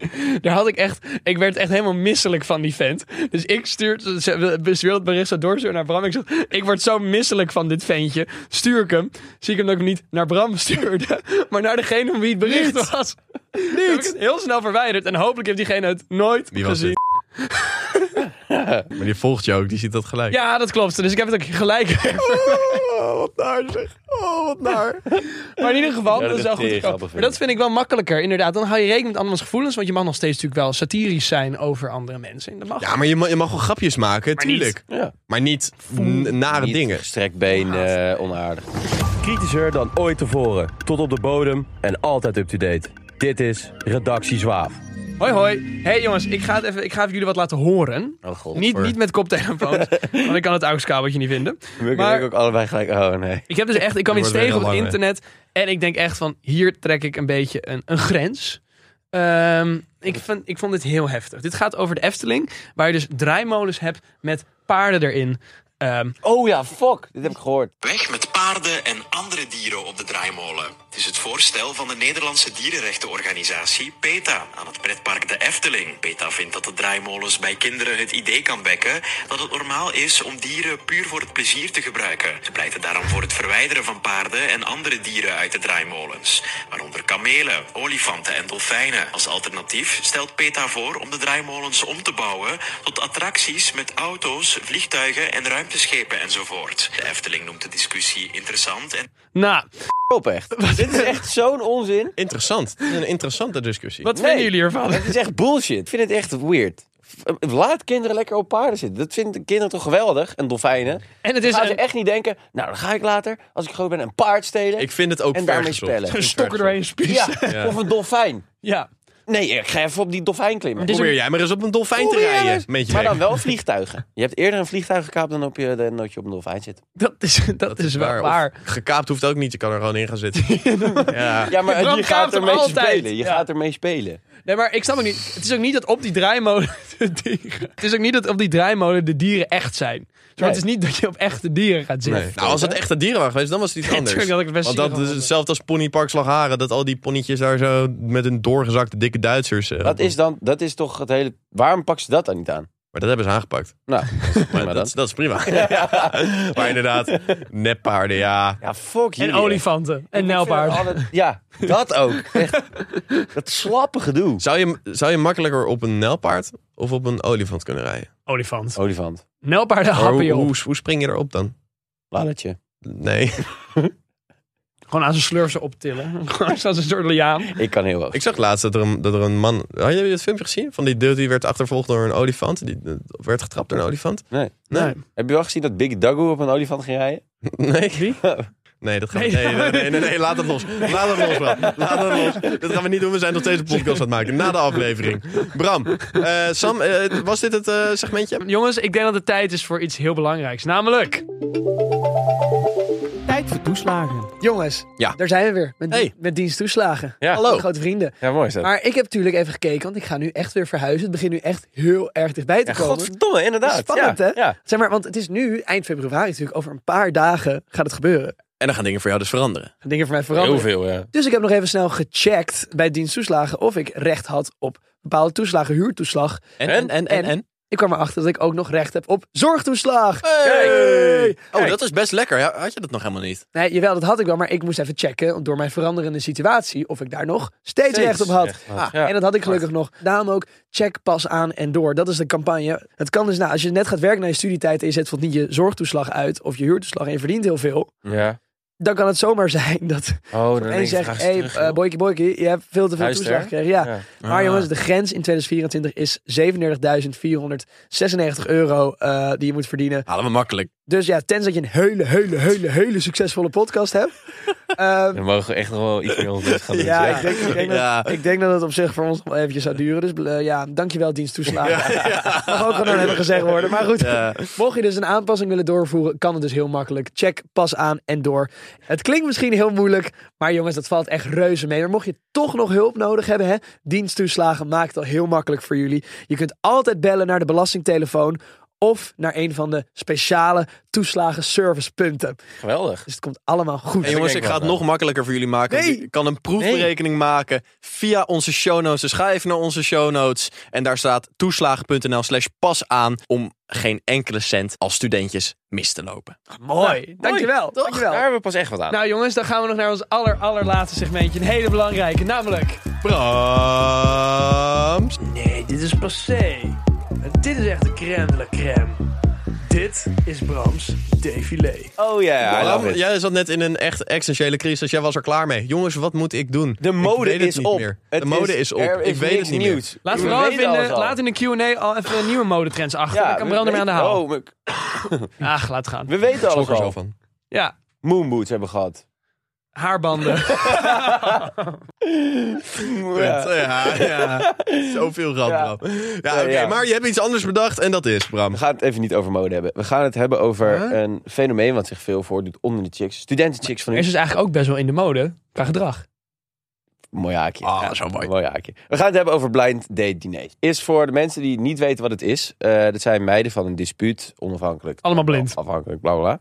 [SPEAKER 4] daar had ik echt, ik werd echt helemaal misselijk van die vent. Dus ik stuur, ze wil- ze wil het bericht zo doorsturen naar Bram. Ik zeg, ik word zo misselijk van dit ventje. Stuur ik hem. Zie ik hem dat ik hem niet naar Bram stuurde, maar naar degene om wie het bericht was. Niet. Heb ik het heel snel verwijderd en hopelijk heeft diegene het nooit
[SPEAKER 5] Wie was
[SPEAKER 4] gezien.
[SPEAKER 5] dit? maar die volgt je ook, die ziet dat gelijk.
[SPEAKER 4] Ja, dat klopt. Dus ik heb het ook gelijk.
[SPEAKER 5] Oh, wat naar zeg. Oh, wat naar.
[SPEAKER 4] maar in ieder geval,
[SPEAKER 6] Ja,
[SPEAKER 4] dat is wel
[SPEAKER 6] dat
[SPEAKER 4] goed.
[SPEAKER 6] is
[SPEAKER 4] gekomen.
[SPEAKER 6] grappig, vind
[SPEAKER 4] Maar dat
[SPEAKER 6] ik.
[SPEAKER 4] vind ik wel makkelijker, inderdaad. Dan hou je rekening met andermans gevoelens. Want je mag nog steeds natuurlijk wel satirisch zijn over andere mensen. En Dat mag.
[SPEAKER 5] Ja, maar je mag, je mag wel grapjes maken,
[SPEAKER 4] Maar niet.
[SPEAKER 5] tuurlijk.
[SPEAKER 6] Ja.
[SPEAKER 5] Maar niet n- nare
[SPEAKER 6] Niet
[SPEAKER 5] dingen.
[SPEAKER 6] Gestrekt been, eh, onaardig. Kritischer dan ooit tevoren. Tot op de bodem en altijd up-to-date. Dit is Redactie Zwaaf.
[SPEAKER 4] Hoi, hoi. Hey jongens, ik ga, het even, ik ga even jullie wat laten horen.
[SPEAKER 6] Oh god.
[SPEAKER 4] Niet, niet met koptelefoons, want ik kan het AUX-kabeltje niet vinden.
[SPEAKER 6] We
[SPEAKER 4] maar-
[SPEAKER 6] kunnen ook allebei gelijk... Oh nee.
[SPEAKER 4] Ik heb dus echt, ik kwam
[SPEAKER 5] Het
[SPEAKER 4] iets
[SPEAKER 5] wordt
[SPEAKER 4] tegen op
[SPEAKER 5] weer
[SPEAKER 4] het
[SPEAKER 5] heel lang,
[SPEAKER 4] internet. En ik denk echt van, hier trek ik een beetje een, een grens. Ehm, ik, vind, ik vond dit heel heftig. Dit gaat over de Efteling, waar je dus draaimolens hebt met paarden erin. Ehm,
[SPEAKER 6] Oh ja, fuck. Dit heb ik gehoord.
[SPEAKER 8] Weg met paarden en andere dieren op de draaimolen. Het is het voorstel van de Nederlandse dierenrechtenorganisatie PETA aan het pretpark De Efteling. PETA vindt dat de draaimolens bij kinderen het idee kan wekken dat het normaal is om dieren puur voor het plezier te gebruiken. Ze pleiten daarom voor het verwijderen van paarden en andere dieren uit de draaimolens, waaronder kamelen, olifanten en dolfijnen. Als alternatief stelt PETA voor om de draaimolens om te bouwen tot attracties met auto's, vliegtuigen en ruimteschepen enzovoort. De Efteling noemt de discussie interessant en
[SPEAKER 4] nou,
[SPEAKER 6] Op echt. Dit is echt zo'n onzin.
[SPEAKER 5] Interessant. Het is Een interessante discussie.
[SPEAKER 4] wat
[SPEAKER 6] Nee.
[SPEAKER 4] vinden jullie ervan?
[SPEAKER 6] Het is echt bullshit. Ik vind het echt weird. Laat kinderen lekker op paarden zitten. Dat vinden kinderen toch geweldig. En dolfijnen.
[SPEAKER 4] En het is
[SPEAKER 6] gaan ze
[SPEAKER 4] een-
[SPEAKER 6] echt niet denken... Nou, dan ga ik later, als ik groot ben, een paard stelen.
[SPEAKER 5] Ik vind het ook
[SPEAKER 6] En
[SPEAKER 5] ver
[SPEAKER 6] daarmee
[SPEAKER 5] gezocht.
[SPEAKER 6] spellen.
[SPEAKER 5] Ik vind het
[SPEAKER 4] Stokken
[SPEAKER 5] ver
[SPEAKER 4] doorheen spies.
[SPEAKER 6] Ja,
[SPEAKER 4] Ja.
[SPEAKER 6] of een dolfijn.
[SPEAKER 4] ja.
[SPEAKER 6] Nee, ik ga even op die dolfijn klimmen.
[SPEAKER 4] Dus
[SPEAKER 5] gezocht. Probeer jij maar eens op een dolfijn te
[SPEAKER 6] Probeer jij
[SPEAKER 5] rijden.
[SPEAKER 6] eens.
[SPEAKER 5] Meentje
[SPEAKER 6] maar
[SPEAKER 5] gek.
[SPEAKER 6] dan wel vliegtuigen. Je hebt eerder een vliegtuig gekaapt dan op je, dan dat je op een dolfijn zit.
[SPEAKER 4] Dat is, dat is, wel waar.
[SPEAKER 5] Of gekaapt hoeft ook niet. Je kan er gewoon in gaan zitten. ja.
[SPEAKER 6] Ja, maar
[SPEAKER 4] Bram
[SPEAKER 6] je
[SPEAKER 4] kaapt
[SPEAKER 6] gaat
[SPEAKER 4] hem
[SPEAKER 6] ermee
[SPEAKER 4] altijd.
[SPEAKER 6] spelen. Je
[SPEAKER 4] Ja.
[SPEAKER 6] gaat ermee spelen.
[SPEAKER 4] Nee, maar ik snap het niet. Het is ook niet dat op die draaimolen de dieren... Het is ook niet dat op die draaimolen de dieren echt zijn. Zo, Het is niet dat je op echte dieren gaat zitten.
[SPEAKER 5] Nee. Nou, als het echt een dieren waren geweest, dan was het iets anders.
[SPEAKER 4] tuurlijk, dat had ik het best
[SPEAKER 5] Want dat
[SPEAKER 4] zielig gevonden.
[SPEAKER 5] is hetzelfde als ponypark Slagharen. Dat al die ponnetjes daar zo met hun doorgezakte dikke Duitsers... eh,
[SPEAKER 6] Dat is dan, dat is toch het hele... Waarom pak ze dat dan niet aan?
[SPEAKER 5] Maar dat hebben ze aangepakt.
[SPEAKER 6] Nou,
[SPEAKER 5] Maar
[SPEAKER 6] prima
[SPEAKER 5] dat,
[SPEAKER 6] dan.
[SPEAKER 5] is- dat is prima. maar inderdaad, neppaarden, ja.
[SPEAKER 6] Ja, fuck
[SPEAKER 4] En
[SPEAKER 6] jullie.
[SPEAKER 4] olifanten. En
[SPEAKER 6] nelpaarden.
[SPEAKER 4] nijlpaarden.
[SPEAKER 5] Oh.
[SPEAKER 6] Ja, dat ook. Echt, dat slappe gedoe.
[SPEAKER 5] Zou je, zou je makkelijker op een nelpaard of op een olifant kunnen rijden?
[SPEAKER 4] Olifant.
[SPEAKER 6] Olifant.
[SPEAKER 4] Nijlpaarden
[SPEAKER 5] Maar
[SPEAKER 4] happen
[SPEAKER 5] Oh, hoe,
[SPEAKER 4] je op.
[SPEAKER 5] hoe, hoe spring je erop dan?
[SPEAKER 6] Lalletje.
[SPEAKER 5] Nee.
[SPEAKER 4] Gewoon aan zijn slurf ze optillen. Gewoon zoals een soort liaan.
[SPEAKER 6] Ik kan heel hoog.
[SPEAKER 5] Ik zag laatst dat er een, dat er een man... Had je het filmpje gezien? Van die dude die werd achtervolgd door een olifant. Die eh, werd getrapt door een olifant.
[SPEAKER 6] Nee.
[SPEAKER 5] Nee.
[SPEAKER 6] Heb je wel gezien dat Big Dago op een olifant ging rijden?
[SPEAKER 5] Nee. Nee, dat gaan we, nee, nee, nee, nee, nee, laat het los. Laat het los, Bram. Laat het los. Dat gaan we niet doen. We zijn nog steeds een podcast aan het maken. Na de aflevering. Bram, eh, Sam, eh, was dit het eh, segmentje?
[SPEAKER 4] Jongens, ik denk dat het tijd is voor iets heel belangrijks. Namelijk...
[SPEAKER 9] Tijd voor toeslagen.
[SPEAKER 4] Jongens,
[SPEAKER 5] Ja.
[SPEAKER 4] daar zijn we weer. Met,
[SPEAKER 5] Hey.
[SPEAKER 4] met diensttoeslagen.
[SPEAKER 6] Ja.
[SPEAKER 5] Hallo.
[SPEAKER 4] Grote vrienden.
[SPEAKER 6] Ja, mooi is dat.
[SPEAKER 4] Maar ik heb natuurlijk even gekeken, want ik ga nu echt weer verhuizen. Het begint nu echt heel erg dichtbij te
[SPEAKER 6] Ja,
[SPEAKER 4] komen.
[SPEAKER 6] godverdomme, inderdaad.
[SPEAKER 4] Spannend,
[SPEAKER 6] ja.
[SPEAKER 4] hè?
[SPEAKER 6] Ja.
[SPEAKER 4] Zeg maar, want het is nu eind februari natuurlijk. Over een paar dagen gaat het gebeuren.
[SPEAKER 5] En dan gaan dingen voor jou dus veranderen.
[SPEAKER 4] Gaan dingen voor mij veranderen.
[SPEAKER 6] veel, ja.
[SPEAKER 4] Dus ik heb nog even snel gecheckt bij diensttoeslagen of ik recht had op bepaalde toeslagen, huurtoeslag.
[SPEAKER 5] En, en, en, en? en?
[SPEAKER 4] Ik kwam erachter dat ik ook nog recht heb op zorgtoeslag.
[SPEAKER 5] Hey! Oh,
[SPEAKER 6] Kijk.
[SPEAKER 5] dat is best lekker. Ja, Had je dat nog helemaal niet?
[SPEAKER 4] Nee, jawel, dat had ik wel, maar ik moest even checken door mijn veranderende situatie of ik daar nog steeds, recht op had.
[SPEAKER 6] had,
[SPEAKER 4] Ah,
[SPEAKER 6] ja.
[SPEAKER 4] En dat had ik gelukkig nog. Daarom ook check pas aan en door. Dat is de campagne. Het kan dus, nou, als je net gaat werken naar je studietijd en je zet bijvoorbeeld niet je zorgtoeslag uit of je huurtoeslag en je verdient heel veel,
[SPEAKER 6] Ja.
[SPEAKER 9] dan kan het zomaar zijn dat
[SPEAKER 6] Oh, dan
[SPEAKER 9] en zegt, hey, eh,
[SPEAKER 4] ehm,
[SPEAKER 9] boykie boykie, je hebt veel te veel
[SPEAKER 6] Huis
[SPEAKER 9] toeslag
[SPEAKER 6] terug.
[SPEAKER 9] gekregen. Ja.
[SPEAKER 6] Ja. Ah.
[SPEAKER 9] Maar jongens, de grens in 2024 is 37.496 euro eh, die je moet verdienen.
[SPEAKER 5] Halen we makkelijk.
[SPEAKER 9] Dus ja, tenzij je een hele, hele, hele, hele succesvolle podcast hebt. Ehm,
[SPEAKER 6] Dan mogen we echt nog wel iets meer ons best gaan doen.
[SPEAKER 9] ja,
[SPEAKER 6] zeg.
[SPEAKER 9] ik denk, ik, denk
[SPEAKER 5] Ja.
[SPEAKER 9] Dat, ik denk dat het op zich voor ons nog wel eventjes zou duren. Dus eh, ja, dankjewel diensttoeslagen. Mag ook gewoon hebben gezegd worden. Maar goed, mocht je dus een aanpassing willen doorvoeren, kan het dus heel makkelijk. Check, pas aan en door. Het klinkt misschien heel moeilijk, maar jongens, dat valt echt reuze mee. Maar mocht je toch nog hulp nodig hebben, hè, diensttoeslagen maakt het al heel makkelijk voor jullie. Je kunt altijd bellen naar de belastingtelefoon of naar een van de speciale toeslagenservicepunten.
[SPEAKER 6] Geweldig.
[SPEAKER 9] Dus het komt allemaal goed.
[SPEAKER 5] En jongens,
[SPEAKER 6] denk
[SPEAKER 5] ik ga
[SPEAKER 6] wel,
[SPEAKER 5] het nog makkelijker voor jullie maken.
[SPEAKER 9] Nee.
[SPEAKER 5] Want Je kan een proefberekening maken via onze show notes. Dus ga even naar onze show notes. En daar staat toeslagen.nl slash pas aan om geen enkele cent als studentjes mis te lopen.
[SPEAKER 9] Mooi, dankjewel. dankjewel.
[SPEAKER 6] Daar hebben we pas echt wat aan.
[SPEAKER 4] Nou jongens, dan gaan we nog naar ons aller, allerlaatste segmentje. Een hele belangrijke, namelijk...
[SPEAKER 5] Brams.
[SPEAKER 4] Nee, dit is passé. Dit is echt de crème de la crème. Dit is Brams défilé.
[SPEAKER 6] oh ja, I love
[SPEAKER 5] Bram,
[SPEAKER 6] it.
[SPEAKER 5] jij zat net in een echt existentiële crisis. Jij was er klaar mee. Jongens, wat moet ik doen?
[SPEAKER 6] De
[SPEAKER 5] Ik
[SPEAKER 6] mode
[SPEAKER 5] weet het
[SPEAKER 6] is
[SPEAKER 5] niet
[SPEAKER 6] op.
[SPEAKER 5] meer.
[SPEAKER 6] Het
[SPEAKER 5] De mode
[SPEAKER 6] is-
[SPEAKER 5] is op.
[SPEAKER 6] er
[SPEAKER 5] ik
[SPEAKER 6] is
[SPEAKER 5] weet het
[SPEAKER 6] niks
[SPEAKER 5] niet meer.
[SPEAKER 6] nieuws.
[SPEAKER 4] Laat
[SPEAKER 6] We
[SPEAKER 4] vooral
[SPEAKER 6] weten
[SPEAKER 4] even in,
[SPEAKER 6] alles
[SPEAKER 4] de,
[SPEAKER 6] al.
[SPEAKER 4] laat in de Q&A al even nieuwe modetrends achter. dan kan
[SPEAKER 6] we
[SPEAKER 4] Brander mee aan de
[SPEAKER 6] weten-
[SPEAKER 4] haal.
[SPEAKER 6] Oh, we,
[SPEAKER 4] Ach, laat gaan.
[SPEAKER 6] we weten
[SPEAKER 5] Ik
[SPEAKER 6] alles
[SPEAKER 5] schrok er zo
[SPEAKER 6] al.
[SPEAKER 5] van.
[SPEAKER 4] Ja,
[SPEAKER 6] Moonboots hebben we gehad.
[SPEAKER 4] haarbanden.
[SPEAKER 6] Ja.
[SPEAKER 5] Ja, ja. Zoveel gehad,
[SPEAKER 6] Ja.
[SPEAKER 5] Bram. Ja, oké,
[SPEAKER 6] ja.
[SPEAKER 5] maar je hebt iets anders bedacht en dat is, Bram.
[SPEAKER 6] We gaan het even niet over mode hebben. We gaan het hebben over een fenomeen wat zich veel voordoet onder de chicks. Studentenchicks van
[SPEAKER 4] Er
[SPEAKER 6] nu.
[SPEAKER 4] is dus eigenlijk ook best wel in de mode qua gedrag.
[SPEAKER 6] Mooi haakje.
[SPEAKER 5] Ah, zo mooi.
[SPEAKER 6] haakje. We gaan het hebben over blind date diners. Is voor de mensen die niet weten wat het is. eh, dat zijn meiden van een dispuut, onafhankelijk.
[SPEAKER 4] Allemaal blind.
[SPEAKER 6] Afhankelijk, bla bla bla.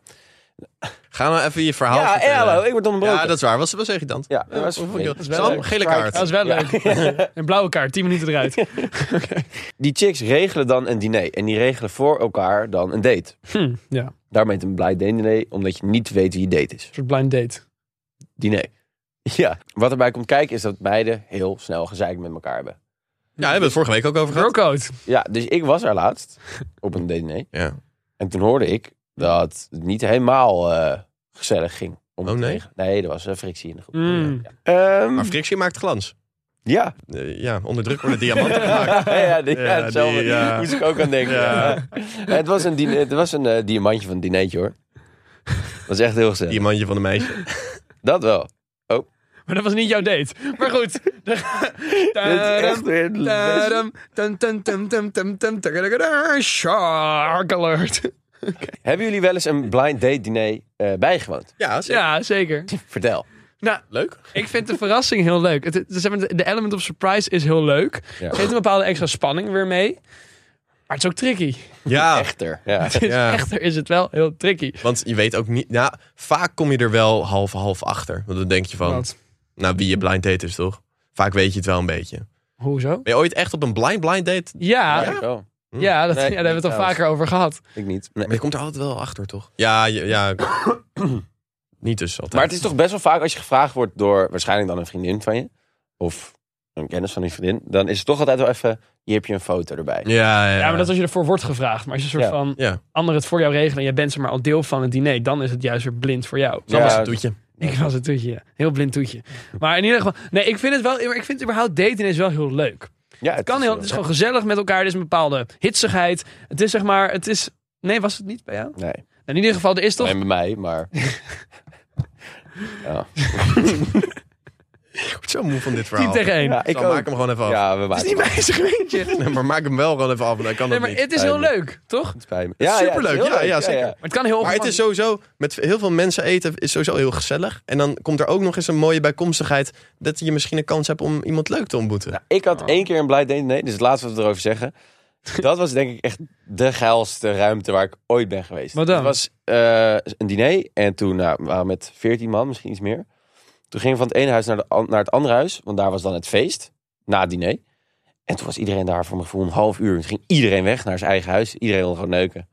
[SPEAKER 5] Ga nou even je verhaal
[SPEAKER 6] Ja, hey,
[SPEAKER 5] vertellen.
[SPEAKER 6] hallo, ik word onderbroken.
[SPEAKER 5] Ja, dat is Oh, waar. Was, was irritant.
[SPEAKER 6] Ja, dat was-
[SPEAKER 5] vond ik heel-
[SPEAKER 6] dat is wel
[SPEAKER 5] Sam,
[SPEAKER 6] leuk.
[SPEAKER 5] gele
[SPEAKER 6] Strike.
[SPEAKER 5] kaart.
[SPEAKER 4] Dat is wel leuk. Een blauwe kaart, 10 minuten eruit.
[SPEAKER 6] Die chicks regelen dan een diner. En die regelen voor elkaar dan een date.
[SPEAKER 4] Hm, ja, een
[SPEAKER 6] Daarmee heet het een blind date diner, omdat je niet weet wie je date is.
[SPEAKER 4] soort blind date.
[SPEAKER 6] Diner. Ja. Wat erbij komt kijken is dat beiden heel snel gezeik met elkaar hebben.
[SPEAKER 5] Ja, daar hebben we het vorige week ook over gehad.
[SPEAKER 4] Girlcode.
[SPEAKER 6] Ja, dus ik was er laatst op een diner.
[SPEAKER 5] Ja.
[SPEAKER 6] En toen hoorde ik dat het niet helemaal eh, gezellig ging. Om
[SPEAKER 5] Oh,
[SPEAKER 6] te
[SPEAKER 5] nee?
[SPEAKER 6] regelen. Nee, er was een frictie in de groep.
[SPEAKER 4] Mm.
[SPEAKER 6] Ja. Ehm,
[SPEAKER 5] Maar frictie maakt glans.
[SPEAKER 6] ja.
[SPEAKER 5] Eh, ja, onder druk worden diamanten gemaakt.
[SPEAKER 6] Ja, ja, die- ja,
[SPEAKER 5] Ja, die,
[SPEAKER 6] hetzelfde.
[SPEAKER 5] ja.
[SPEAKER 6] moest ik ook aan denken.
[SPEAKER 5] Ja.
[SPEAKER 6] Het was een, diner- het was een eh, diamantje van een dinertje hoor. Dat was echt heel gezellig.
[SPEAKER 5] Diamantje van de meisje.
[SPEAKER 6] Dat wel.
[SPEAKER 4] Eh, Maar dat was niet jouw date. Maar goed.
[SPEAKER 6] Dit is echt weer het
[SPEAKER 4] eh,
[SPEAKER 6] beste.
[SPEAKER 4] Shark alert.
[SPEAKER 6] Hebben jullie wel eens een blind date diner eh, bijgewoond?
[SPEAKER 5] Ja,
[SPEAKER 4] Ja, zeker.
[SPEAKER 6] Vertel.
[SPEAKER 4] Nou,
[SPEAKER 5] Leuk.
[SPEAKER 4] Ik vind de verrassing heel leuk. Het, het- zeg maar, de de element of surprise is heel leuk.
[SPEAKER 6] Ja.
[SPEAKER 4] Geeft een bepaalde extra spanning weer mee. Maar het is ook tricky.
[SPEAKER 5] Ja,
[SPEAKER 6] Echter. Ja.
[SPEAKER 4] Het is
[SPEAKER 5] Ja.
[SPEAKER 4] Echter is het wel heel tricky.
[SPEAKER 5] want je weet ook niet... Nou, vaak kom je er wel half-half achter. Want dan denk je van...
[SPEAKER 4] Want,
[SPEAKER 5] Nou, wie je blind date is, toch? Vaak weet je het wel een beetje. Ben
[SPEAKER 4] hoezo?
[SPEAKER 5] je ooit echt op een blind-blind date?
[SPEAKER 4] Ja,
[SPEAKER 6] ik
[SPEAKER 4] ja?
[SPEAKER 6] wel.
[SPEAKER 4] dat,
[SPEAKER 6] Nee,
[SPEAKER 4] ja, daar hebben we het al
[SPEAKER 6] trouwens.
[SPEAKER 4] vaker over gehad.
[SPEAKER 6] Ik niet. Nee.
[SPEAKER 5] Maar je komt er altijd wel achter, toch? Ja, ja. ja. niet dus altijd.
[SPEAKER 6] Maar het is toch best wel vaak als je gevraagd wordt door waarschijnlijk dan een vriendin van je. Of een kennis van die vriendin. Dan is het toch altijd wel even, hier heb je een foto erbij.
[SPEAKER 5] Ja, ja.
[SPEAKER 4] Ja, maar dat als je ervoor wordt gevraagd. Maar als je een soort
[SPEAKER 6] Ja.
[SPEAKER 4] van
[SPEAKER 5] Ja.
[SPEAKER 4] anderen het voor jou regelen en jij bent ze maar al deel van het diner, dan is het juist weer blind voor jou.
[SPEAKER 5] Sam was
[SPEAKER 6] Ja.
[SPEAKER 5] een toetje.
[SPEAKER 4] Ik was een toetje, ja. heel blind toetje. Maar in ieder geval, nee, ik vind het wel, maar ik vind überhaupt daten is wel heel leuk.
[SPEAKER 6] Ja, het
[SPEAKER 4] kan heel, het is gewoon gezellig met elkaar. Er is een bepaalde hitsigheid. Het is zeg maar, het is. Nee, was het niet bij jou?
[SPEAKER 6] Nee,
[SPEAKER 4] In ieder geval, er is toch.
[SPEAKER 6] alleen bij mij, maar... ja.
[SPEAKER 5] Ik word zo moe van dit verhaal.
[SPEAKER 4] 10 tegen 1.
[SPEAKER 6] Ja,
[SPEAKER 5] Ik
[SPEAKER 6] ik
[SPEAKER 5] maak
[SPEAKER 6] ook.
[SPEAKER 5] hem gewoon even af.
[SPEAKER 6] Ja, we
[SPEAKER 4] Het
[SPEAKER 6] maken
[SPEAKER 4] is niet mijn segmentje.
[SPEAKER 5] Nee, maar maak hem wel gewoon even af. want Dan kan
[SPEAKER 4] Nee,
[SPEAKER 5] het
[SPEAKER 4] maar
[SPEAKER 5] niet.
[SPEAKER 4] het is heel
[SPEAKER 6] Eigenlijk.
[SPEAKER 4] leuk, toch?
[SPEAKER 6] het bij me.
[SPEAKER 5] is
[SPEAKER 6] Ja, ja,
[SPEAKER 5] superleuk.
[SPEAKER 6] het is heel
[SPEAKER 5] Ja,
[SPEAKER 6] leuk.
[SPEAKER 5] ja, zeker.
[SPEAKER 4] Maar het kan heel
[SPEAKER 5] Maar het is sowieso, met heel veel mensen eten is sowieso heel gezellig. En dan komt er ook nog eens een mooie bijkomstigheid dat je misschien een kans hebt om iemand leuk te ontmoeten.
[SPEAKER 6] Ik had één keer een blind date. Nee, dit is het laatste wat we erover zeggen. Dat was denk ik echt de geilste ruimte waar ik ooit ben geweest.
[SPEAKER 4] Wat dan?
[SPEAKER 6] Het was eh, een diner en toen nou, we waren met veertien man, misschien iets meer. Toen gingen we van het ene huis naar, de, an- naar het andere huis, want daar was dan het feest na het diner. En toen was iedereen daar voor mijn gevoel een half uur. Toen ging iedereen weg naar zijn eigen huis. Iedereen wilde gewoon neuken.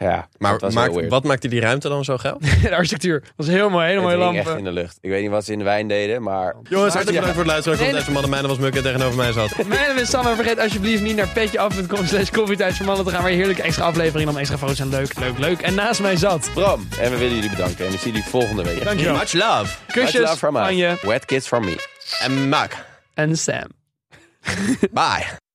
[SPEAKER 6] Ja, dat
[SPEAKER 5] Maar
[SPEAKER 6] was heel
[SPEAKER 5] maakt,
[SPEAKER 6] weird.
[SPEAKER 5] wat maakte die ruimte dan zo geil?
[SPEAKER 4] de architectuur. Dat was heel mooi, hele
[SPEAKER 6] Het
[SPEAKER 4] mooie
[SPEAKER 6] hing echt
[SPEAKER 4] lampen.
[SPEAKER 6] in de lucht. Ik weet niet wat ze in de wijn deden, maar...
[SPEAKER 5] Jongens, hartelijk bedankt voor het luisteren. Ik
[SPEAKER 4] Nee,
[SPEAKER 5] vond deze mannen mijn naam was Muk en tegenover mij zat.
[SPEAKER 4] Mijn naam is Sam en vergeet alsjeblieft niet naar petjeaf.com slash koffietijd voor mannen te gaan. Waar je heerlijke extra afleveringen en extra foto's en leuk, leuk, leuk. En naast mij zat.
[SPEAKER 6] Bram, en we willen jullie bedanken. En we zien jullie volgende week.
[SPEAKER 4] Dankjewel.
[SPEAKER 5] Much love.
[SPEAKER 6] Much
[SPEAKER 4] Kusjes
[SPEAKER 6] love from
[SPEAKER 4] van
[SPEAKER 6] us.
[SPEAKER 4] je
[SPEAKER 6] Wet kids from me.
[SPEAKER 5] En Mac.
[SPEAKER 4] en Sam.
[SPEAKER 5] Bye.